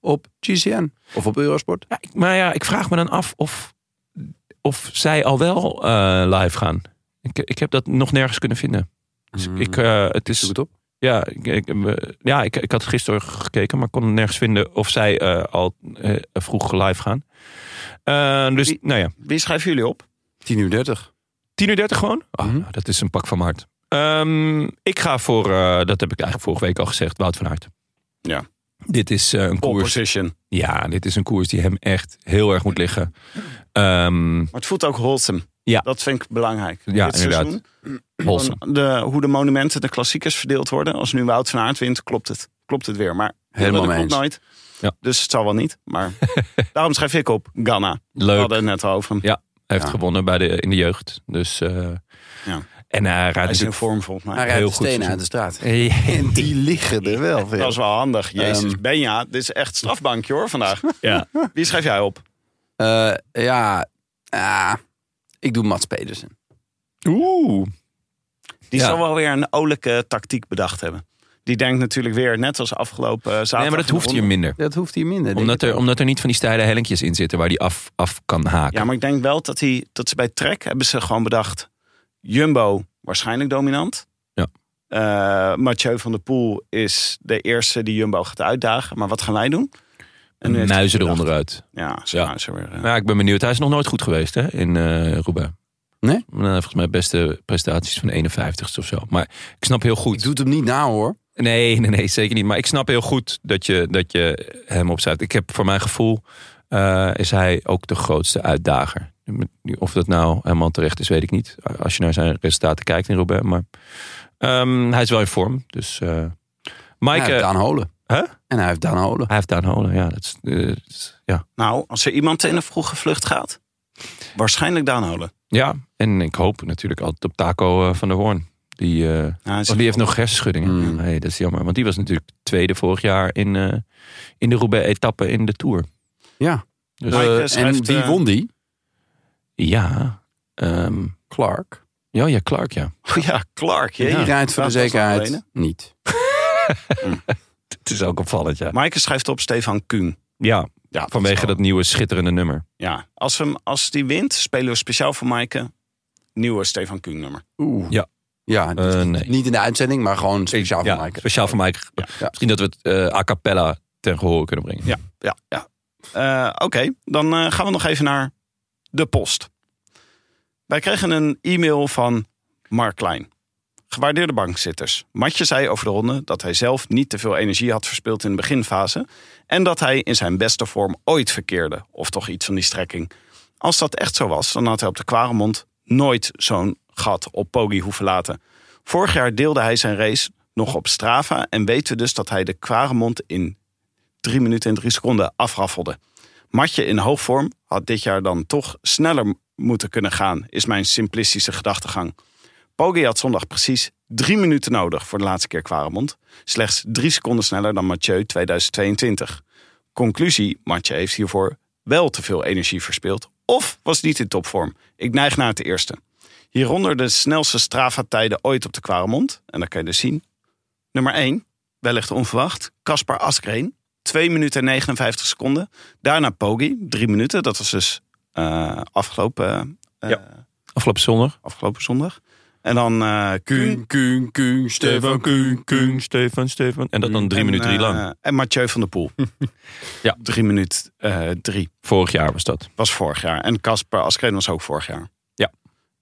S2: op GCN of op Eurosport.
S3: Ja, ik- maar ja, ik vraag me dan af of, of zij al wel eh, live gaan. Ik, ik heb dat nog nergens kunnen vinden. Dus
S2: Mm.
S3: ik, eh, het is,
S2: Zoek het op.
S3: ja, ik, ik, we- ja ik, ik had gisteren gekeken, maar kon nergens vinden of zij eh, al eh, vroeg live gaan. Eh, dus,
S1: Wie-
S3: nou ja.
S1: Wie schrijven jullie op?
S2: 10 uur 30.
S3: 10 uur 30 gewoon? Ah,
S2: Mhm.
S1: Mm-hmm.
S3: nou, dat is een pak van mijn hart. Ehm, ik ga voor, eh, dat heb ik eigenlijk vorige week al gezegd, Wout van Aert.
S1: Ja.
S3: Dit is eh, een
S1: Pole
S3: koers.
S1: position. Maar
S3: Ja, dit is een koers die hem echt heel erg moet liggen. Ehm
S1: het voelt ook wholesome.
S3: Ja.
S1: Dat vind ik belangrijk.
S3: Ja,
S1: Dit
S3: inderdaad.
S1: seizoen.
S3: Holsen.
S1: Gewoon De, hoe de monumenten, de klassiekers verdeeld worden. Als nu Wout van Aert wint, klopt het. Klopt het weer. Maar
S2: Helemaal
S1: dat
S2: mee
S1: klopt
S2: eens.
S1: nooit.
S3: Ja.
S1: Dus het zal wel niet. Maar daarom schrijf ik op Ghana. We
S3: Leuk.
S1: hadden het net al over hem.
S3: Ja, Hij heeft
S1: Ja.
S3: gewonnen bij de, in de jeugd. Dus, eh,
S1: Ja.
S3: En hij
S1: Hij
S3: rijdt
S1: is in
S3: natuurlijk...
S1: vorm volgens mij.
S2: Hij rijdt
S3: heel
S2: de
S3: goed
S2: stenen uit de straat. En die liggen er wel
S1: Dat
S2: veel.
S1: is wel handig. Jezus,
S2: Ehm.
S1: Benja, dit is echt strafbankje hoor vandaag.
S3: Ja.
S1: Wie schrijf jij op?
S2: Eh, ja, ah, ik doe Mats Pedersen.
S3: Oeh.
S1: Die
S3: Ja.
S1: zal wel weer een olijke tactiek bedacht hebben. Die denkt natuurlijk weer, net als afgelopen eh, zaterdag.
S3: Nee, maar dat hoeft hier minder.
S2: Dat hoeft hier minder. denk
S3: Omdat
S2: ik.
S3: er, omdat er niet van die steile hellinkjes in zitten waar hij af, af kan haken.
S1: Ja, maar ik denk wel dat, die, dat ze bij Trek hebben ze gewoon bedacht... Jumbo waarschijnlijk dominant.
S3: Ja.
S1: Eh, Mathieu van der Poel is de eerste die Jumbo gaat uitdagen. Maar wat gaan wij doen? En nu heeft hij
S3: Muizen
S1: bedacht-
S3: eronder uit.
S1: Ja, ze
S3: Ja.
S1: muizen weer. eh.
S3: Ja, ik ben benieuwd. Hij is nog nooit goed geweest hè, in eh Roubaix.
S2: Nee?
S3: Nou, volgens mij beste prestaties van 51 of zo. Maar ik snap heel
S2: Ik
S3: goed.
S2: doe het hem niet na hoor.
S3: Nee, nee, nee, zeker niet. Maar ik snap heel goed dat je, dat je hem opzet. Ik heb voor mijn gevoel eh, is hij ook de grootste uitdager. Of dat nou helemaal terecht is, weet ik niet. Als je naar zijn resultaten kijkt in Roubaix. Maar ehm, hij is wel in vorm. Dus eh Mike,
S2: hij heeft
S3: eh,
S2: Daan Holen.
S3: Hè?
S2: En hij heeft Daan Holen.
S3: hij heeft Daan Holen. Ja, dat is, eh, dat is- ja.
S1: Nou, als er iemand in een vroege vlucht gaat... waarschijnlijk Daan Holen.
S3: ja, en ik hoop natuurlijk altijd op Taco eh, van der Hoorn. Die... eh,
S1: Ja, hij is-
S3: Oh, die heeft nog hersenschuddingen.
S2: Mm.
S3: Nee, dat is jammer. Want die was natuurlijk tweede vorig jaar in, eh, in de Roubaix-etappe in de Tour.
S2: Ja.
S3: Dus,
S1: Mike,
S2: Eh,
S1: eh,
S2: en
S1: schrijft,
S2: wie
S1: eh,
S2: won die?
S3: ja. ehm,
S2: Clark.
S3: ja, ja, Clark, ja.
S1: Ja, Clark.
S2: Die
S1: jee.
S2: rijdt voor de
S1: Nou, dat was wel
S2: zekerheid
S1: een
S2: niet.
S3: Het is ook opvallend, ja.
S1: Maaike schrijft op Stefan Kuhn.
S3: Ja,
S1: Ja, dat is
S3: vanwege
S1: wel-
S3: dat nieuwe schitterende nummer.
S1: Ja, als, hem, als die wint, spelen we speciaal voor Maaike nieuwe Stefan Kuhn nummer.
S2: Oeh.
S3: Ja.
S2: Ja,
S3: Eh,
S2: dus
S3: nee.
S2: niet in de uitzending, maar gewoon speciaal voor
S3: ja,
S2: Maaike.
S3: Speciaal voor Mike.
S1: Ja.
S3: Misschien dat we het eh, a cappella ten gehoor kunnen brengen.
S1: Ja. Ja, ja. Eh, Oké, dan eh, gaan we nog even naar de post. Wij kregen een e-mail van Mark Klein. Gewaardeerde bankzitters. Matje zei over de ronde dat hij zelf niet te veel energie had verspild in de beginfase. En dat hij in zijn beste vorm ooit verkeerde. Of toch iets van die strekking. Als dat echt zo was, dan had hij op de Kwaremond nooit zo'n gat op Poggi hoeven laten. Vorig jaar deelde hij zijn race nog op Strava. En weten we dus dat hij de Kwaremond in 3 minuten en 3 seconden afraffelde. Matje in hoogvorm had dit jaar dan toch sneller m- moeten kunnen gaan, is mijn simplistische gedachtegang. Poggi had zondag precies drie minuten nodig voor de laatste keer Quaremont. Slechts drie seconden sneller dan Mathieu 2022. Conclusie, Matje heeft hiervoor wel te veel energie verspeeld of was niet in topvorm. Ik neig naar het eerste. Hieronder de snelste Strava-tijden ooit op de Quaremont. En dat kan je dus zien. Nummer 1, wellicht onverwacht, Kaspar Askreen. 2 minuten en 59 seconden. Daarna Pogi, 3 minuten. Dat was dus eh, afgelopen, eh,
S3: Afgelopen zondag.
S1: afgelopen zondag. En dan eh Kuhn.
S2: Kuun, Kuun,
S3: Stefan, Kuhn, Kuhn, Stefan, Stefan. En dat dan drie
S1: En,
S3: minuten drie
S1: eh,
S3: lang.
S1: En Mathieu van der Poel.
S3: Ja.
S1: 3 minuten eh 3.
S3: Vorig jaar was dat.
S1: Was vorig jaar. En Kasper Askreen was ook vorig jaar.
S3: Ja.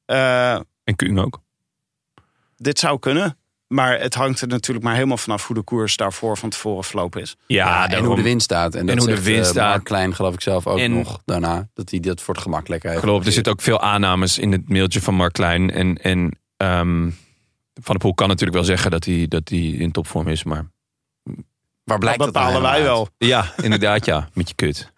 S1: Eh,
S3: En Kuhn ook.
S1: dit zou kunnen. Maar het hangt er natuurlijk maar helemaal vanaf hoe de koers daarvoor van tevoren verlopen is.
S3: Ja,
S2: en hoe de wind staat. En, dat
S3: hoe de
S2: zegt,
S3: wind
S2: eh, Mark
S3: staat.
S2: Klein geloof ik zelf ook
S3: En-
S2: nog daarna. Dat hij dat voor het gemak lekker heeft.
S3: Klopt, dus er zitten ook veel aannames in het mailtje van Mark Klein. En, en ehm, Van der Poel kan natuurlijk wel zeggen dat hij, dat hij in topvorm is. Maar
S2: Waar
S1: Dat
S2: blijkt dat nou
S1: bepalen wij
S2: helemaal uit?
S1: wel.
S3: ja, inderdaad ja, met je kut.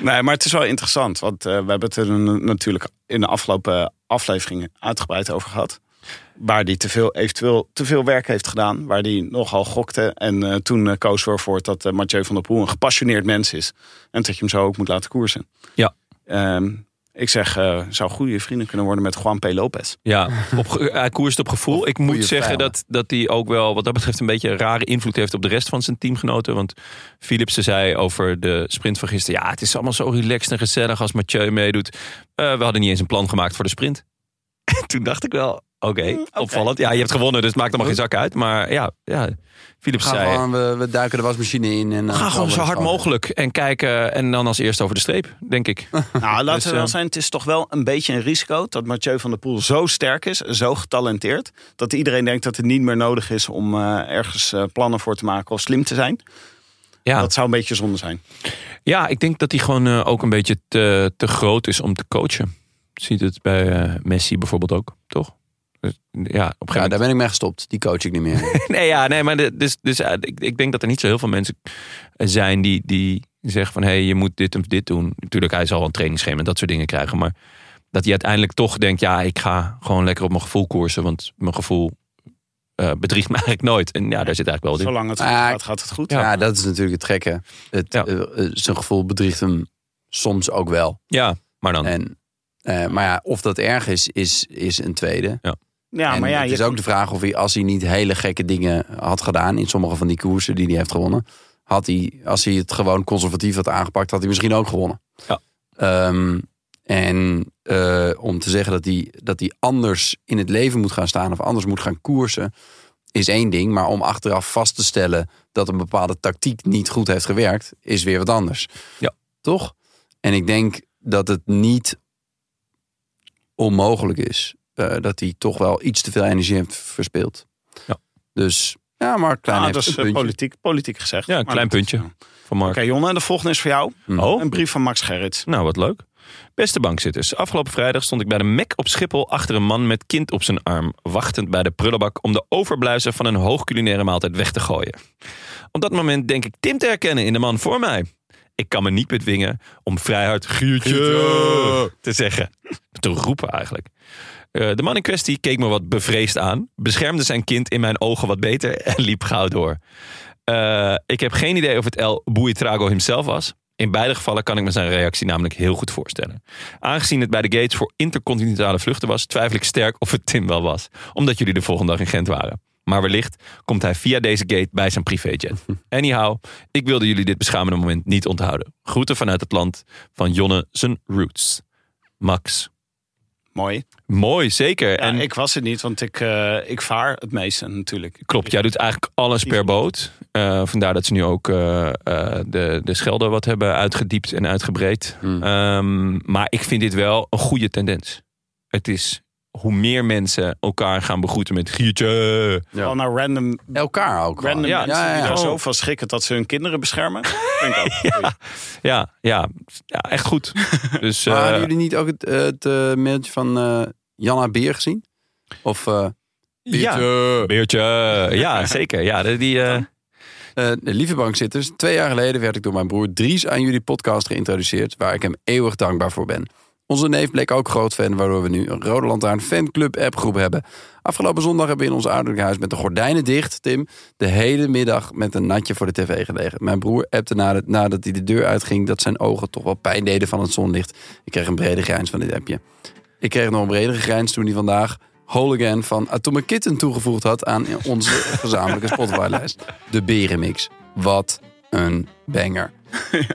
S1: Nee, maar het is wel interessant. Want eh, we hebben het er n- natuurlijk in de afgelopen afleveringen uitgebreid over gehad. Waar hij te veel, eventueel te veel werk heeft gedaan. Waar hij nogal gokte. En eh, toen eh, koos we ervoor dat eh, Mathieu van der Poel een gepassioneerd mens is. En dat je hem zo ook moet laten koersen.
S3: Ja.
S1: Ehm, ik zeg, eh, zou goede vrienden kunnen worden met Juan P. Lopez.
S3: Ja, op, ge- eh, hij koerst op gevoel. Ik moet
S2: goede
S3: zeggen
S2: vijanden.
S3: dat, dat hij ook wel wat dat betreft een beetje een rare invloed heeft op de rest van zijn teamgenoten. Want Philipsen zei over de sprint van gisteren. Ja, het is allemaal zo relaxed en gezellig als Mathieu meedoet. Eh, we hadden niet eens een plan gemaakt voor de sprint. En toen dacht ik wel, oké, opvallend. Ja, je hebt gewonnen, dus het maakt allemaal geen zak uit. Maar ja, ja Philips
S2: Gaan
S3: zei...
S2: gewoon, we, we duiken de wasmachine in. En, eh,
S3: We gaan gewoon zo hard mogelijk en kijken en dan als eerste over de streep, denk ik.
S1: Nou, laten we
S3: eh,
S1: wel zijn, het is toch wel een beetje een risico dat Mathieu van der Poel zo sterk is, en zo getalenteerd, dat iedereen denkt dat het niet meer nodig is om eh, ergens eh, plannen voor te maken of slim te zijn.
S3: Ja.
S1: Dat zou een beetje zonde zijn.
S3: Ja, ik denk dat hij gewoon eh, ook een beetje te, te groot is om te coachen. Ziet het bij eh, Messi bijvoorbeeld ook, toch? Dus, Ja, op een gegeven
S2: Ja,
S3: moment.
S2: daar ben ik mee gestopt. Die coach ik niet meer.
S3: Nee, ja, nee maar de- dus, dus, eh, ik, ik denk dat er niet zo heel veel mensen eh, zijn die, die zeggen van... hé, hey, je moet dit en dit doen. Natuurlijk, hij zal wel een trainingsschema en dat soort dingen krijgen. Maar dat hij uiteindelijk toch denkt... ja, ik ga gewoon lekker op mijn gevoel koersen... want mijn gevoel eh, bedriegt me eigenlijk nooit. En ja, daar zit eigenlijk wel wat in.
S1: Zolang het goed
S2: Ah,
S1: gaat, gaat het goed.
S2: ja. dat is natuurlijk het gekke. Het,
S3: Ja.
S2: eh, eh, zijn gevoel bedriegt hem soms ook wel.
S3: Ja, maar dan...
S2: En, eh, maar ja, of dat erg is, is, is een tweede.
S1: Ja,
S2: En
S1: maar ja,
S2: het
S1: je Nou,
S2: is ook de vraag of hij, als hij niet hele gekke dingen had gedaan in sommige van die koersen die hij heeft gewonnen, had hij, als hij het gewoon conservatief had aangepakt, had hij misschien ook gewonnen.
S3: Ja.
S2: Ehm, en eh, om te zeggen dat hij, dat hij anders in het leven moet gaan staan of anders moet gaan koersen, is één ding. Maar om achteraf vast te stellen dat een bepaalde tactiek niet goed heeft gewerkt, is weer wat anders.
S3: Ja.
S2: Toch? En ik denk dat het niet onmogelijk is. eh, dat hij toch wel iets te veel energie heeft verspeeld.
S3: Ja.
S2: Dus ja, Mark Klein
S1: Ah,
S2: heeft
S1: dat is
S2: een
S1: eh,
S2: puntje.
S1: politiek, politiek gezegd.
S3: Ja, een
S1: Maar
S3: klein
S1: dat is-
S3: puntje.
S1: Oké,
S3: Van Mark.
S1: Jonne, de volgende is voor jou.
S3: Oh,
S1: Een brief van Max Gerrits.
S3: Nou, wat leuk. Beste bankzitters, afgelopen vrijdag stond ik bij de Mac op Schiphol achter een man met kind op zijn arm, wachtend bij de prullenbak om de overblijfselen van een hoogculinaire maaltijd weg te gooien. Op dat moment denk ik Tim te herkennen in de man voor mij. Ik kan me niet bedwingen om vrij hard Guurtje te zeggen. Te roepen eigenlijk. Eh, de man in kwestie keek me wat bevreesd aan, beschermde zijn kind in mijn ogen wat beter en liep gauw door. Eh, ik heb geen idee of het El Buitrago himself was. In beide gevallen kan ik me zijn reactie namelijk heel goed voorstellen. Aangezien het bij de gates voor intercontinentale vluchten was, twijfel ik sterk of het Tim wel was, omdat jullie de volgende dag in Gent waren. Maar wellicht komt hij via deze gate bij zijn privéjet. Anyhow, ik wilde jullie dit beschamende moment niet onthouden. Groeten vanuit het land van Jonne zijn roots. Max.
S1: Mooi.
S3: Mooi, zeker.
S1: Ja,
S3: en
S1: ik was het niet, want ik, eh, ik vaar het meeste natuurlijk.
S3: Klopt, jij doet eigenlijk alles per boot. Eh, vandaar dat ze nu ook eh, eh, de, de Schelde wat hebben uitgediept en uitgebreid.
S2: Hmm.
S3: Ehm, maar ik vind dit wel een goede tendens. Het is hoe meer mensen elkaar gaan begroeten met Giertje.
S1: Al naar random,
S2: Elkaar ook. gewoon.
S1: random
S3: Ja,
S1: mensen
S2: ja,
S1: die
S2: ja.
S1: daar
S3: Oh.
S1: zo van schrikken dat ze hun kinderen beschermen. Vind ik ook.
S3: Ja, ja, ja, echt goed. Dus
S2: Maar
S3: eh,
S2: hadden jullie niet ook het, eh, het eh, mailtje van eh Janna Beer gezien? Of eh
S3: ja, Beertje. Ja, zeker. Ja, die, die, eh,
S2: eh, lieve bankzitters, twee jaar geleden werd ik door mijn broer Dries aan jullie podcast geïntroduceerd, waar ik hem eeuwig dankbaar voor ben. Onze neef bleek ook groot fan, waardoor we nu een Rode Lantaarn fanclub appgroep hebben. Afgelopen zondag hebben we in ons ouderlijk huis met de gordijnen dicht, Tim, de hele middag met een natje voor de tv gelegen. Mijn broer appte nadat, nadat hij de deur uitging dat zijn ogen toch wel pijn deden van het zonlicht. Ik kreeg een brede grijns van dit appje. Ik kreeg nog een bredere grijns toen hij vandaag Holigan van Atomic Kitten toegevoegd had aan onze gezamenlijke Spotify-lijst. De Berenmix. Wat een banger.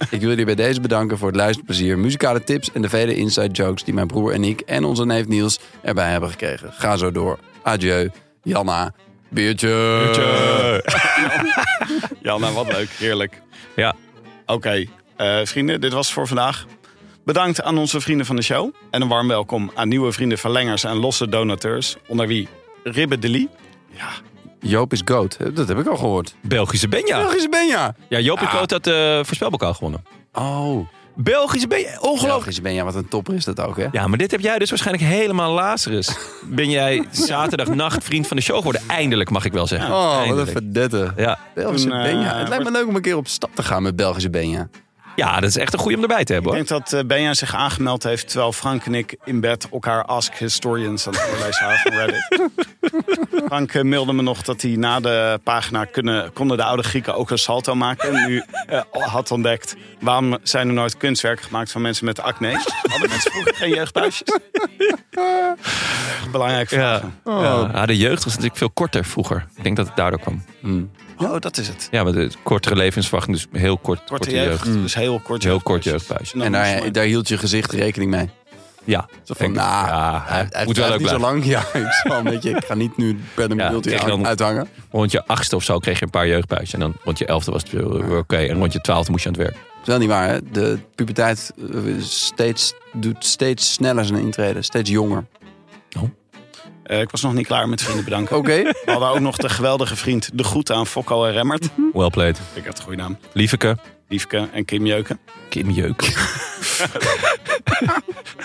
S2: Ik wil jullie bij deze bedanken voor het luisterplezier, muzikale tips en de vele inside jokes die mijn broer en ik en onze neef Niels erbij hebben gekregen. Ga zo door. Adieu. Janna. Biertje.
S1: Ja, nou wat leuk. Heerlijk.
S3: Ja.
S1: Oké, eh, vrienden, dit was het voor vandaag. Bedankt aan onze vrienden van de show. En een warm welkom aan nieuwe vrienden, verlengers en losse donateurs. Onder wie Ribbe de Lee.
S2: Joop is goat. Dat heb ik al gehoord.
S3: Belgische Benja.
S2: Belgische Benja.
S3: Ja, Joop de Koot had eh voorspelbokaal gewonnen.
S2: Oh.
S3: Belgische Benja. Ongelooflijk.
S2: Belgische Benja. Wat een topper is dat ook, hè?
S3: Ja, maar dit heb jij dus waarschijnlijk helemaal Lazarus. Ben jij zaterdagnacht vriend van de show geworden? Eindelijk, mag ik wel zeggen.
S2: Oh, wat een
S3: Eindelijk.
S2: verdette.
S3: Ja.
S2: Belgische
S1: Toen, eh,
S2: Benja. Het lijkt me leuk om een keer op stap te gaan met Belgische Benja.
S3: ja, dat is echt een goeie om erbij te hebben
S1: Ik
S3: hoor.
S1: denk dat eh, Benja zich aangemeld heeft terwijl Frank en ik in bed elkaar Ask Historians aan het voorlezen waren van Reddit. Frank eh, mailde me nog dat hij na de pagina kunnen, konden de oude Grieken ook een salto maken. En nu eh, had ontdekt waarom zijn er nooit kunstwerken gemaakt van mensen met acne. Hadden mensen vroeger geen jeugdhuisjes? Belangrijk
S3: Ja.
S1: vragen.
S2: Oh.
S3: Ja. Ja, de jeugd was natuurlijk veel korter vroeger. Ik denk dat het daardoor kwam.
S1: Oh, dat is het.
S3: Ja, maar de kortere levensverwachting, dus heel kort, korte,
S1: Korte
S3: jeugd.
S1: jeugd. Dus heel kort
S3: Heel kort
S1: jeugd.
S3: jeugdbuis.
S1: Nou,
S2: En
S1: moest
S2: daar,
S1: maar-
S2: daar hield je gezicht rekening mee.
S3: Ja.
S2: Zo van,
S3: Ik-
S2: nou,
S3: ja,
S2: hij, hij
S3: moet wel
S2: blijft niet
S3: leuk
S2: zo
S3: blijven.
S2: lang. Ja, ik, zal een beetje, ik ga niet nu per de
S3: Ja,
S2: beeld
S3: krijg je dan-
S2: uithangen.
S3: Rond je achtste of zo kreeg je een paar jeugdbuis. En dan rond je elfde was het weer weer oké. En rond je twaalfde moest je aan het werk.
S2: Dat is wel niet waar, hè? De puberteit eh, steeds, doet steeds sneller zijn intrede. Steeds jonger.
S1: Eh, ik was nog niet klaar met vrienden bedanken.
S2: Oké.
S1: We hadden ook nog de geweldige vriend De Groet aan Fokko en Remmert.
S3: Well played.
S1: Ik had een goede naam.
S3: Lieveke.
S1: Liefke en Kim Jeuken.
S3: Kim Jeuk.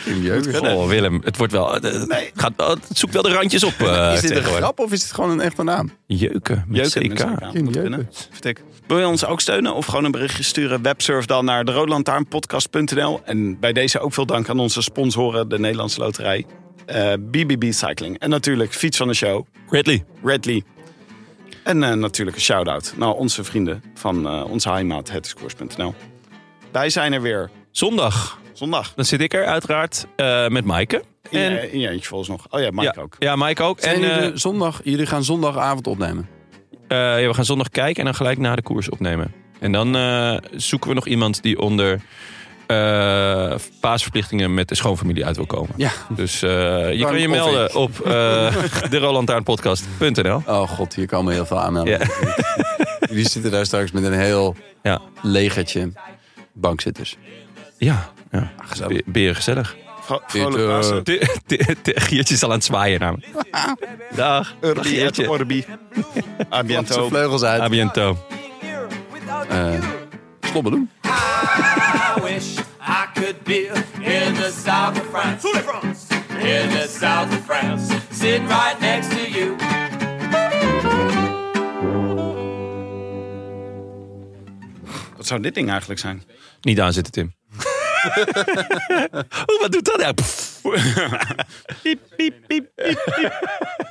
S2: Kim Jeuken.
S3: Oh, Willem. Het wordt wel... eh, gaat, wel- het zoekt wel de randjes op eh
S2: Is dit een
S3: tegenwoordig.
S2: grap of is het gewoon een echte naam?
S3: Jeuken. Met
S1: Jeuken. met
S3: CK.
S1: CK.
S2: Kim
S1: Moet
S2: Jeuken.
S1: kunnen. Vertik. Wil je ons ook steunen of gewoon een berichtje sturen? Websurf dan naar de En bij deze ook veel dank aan onze sponsoren, de Nederlandse Loterij, eh, BBB Cycling. En natuurlijk fiets van de show,
S3: Ridley.
S1: Redley. En eh, natuurlijk een shout-out naar onze vrienden van eh, onze heimaat, hetdiscours.nl. Wij zijn er weer
S3: Zondag.
S1: zondag.
S3: Dan zit ik er uiteraard eh, met Maaike.
S1: In,
S3: En,
S1: je- in je eentje volgens nog. Oh ja, Mike
S3: ja,
S1: ook.
S3: Ja, Maaike ook.
S2: En
S3: En eh,
S2: zondag, jullie dus- gaan zondagavond opnemen.
S3: eh, ja, we gaan zondag kijken en dan gelijk na de koers opnemen. En dan eh, zoeken we nog iemand die onder eh, paasverplichtingen met de schoonfamilie uit wil komen.
S2: Ja.
S3: Dus eh, je
S2: Frank
S3: kan je
S2: of
S3: melden
S2: ik.
S3: op eh de Rolantaarnpodcast.nl.
S2: Oh god, hier komen heel veel aanmeldingen. Jullie zitten daar straks met een heel
S3: Ja.
S2: legertje bankzitters.
S3: Ja. ja.
S2: gezellig.
S3: Be- Beren gezellig.
S1: Vro-
S2: Dit,
S1: Vrolijk
S2: eh,
S1: Pasen.
S3: De- de- de- Geertje is al aan het zwaaien namelijk. Dag. Dag
S1: Urbi et
S3: Geertje.
S1: Orbi. A
S2: Klapt zijn
S1: biento.
S2: vleugels uit.
S3: A biento.
S2: Slobbedoen.
S6: I wish I could be in the south of France. In the south of France. Sitting right next to you.
S1: Wat zou dit ding eigenlijk zijn?
S3: Niet aanzitten, Tim. Oeh, wat doet dat nou? Pff.
S1: Piep, piep, piep, piep, piep.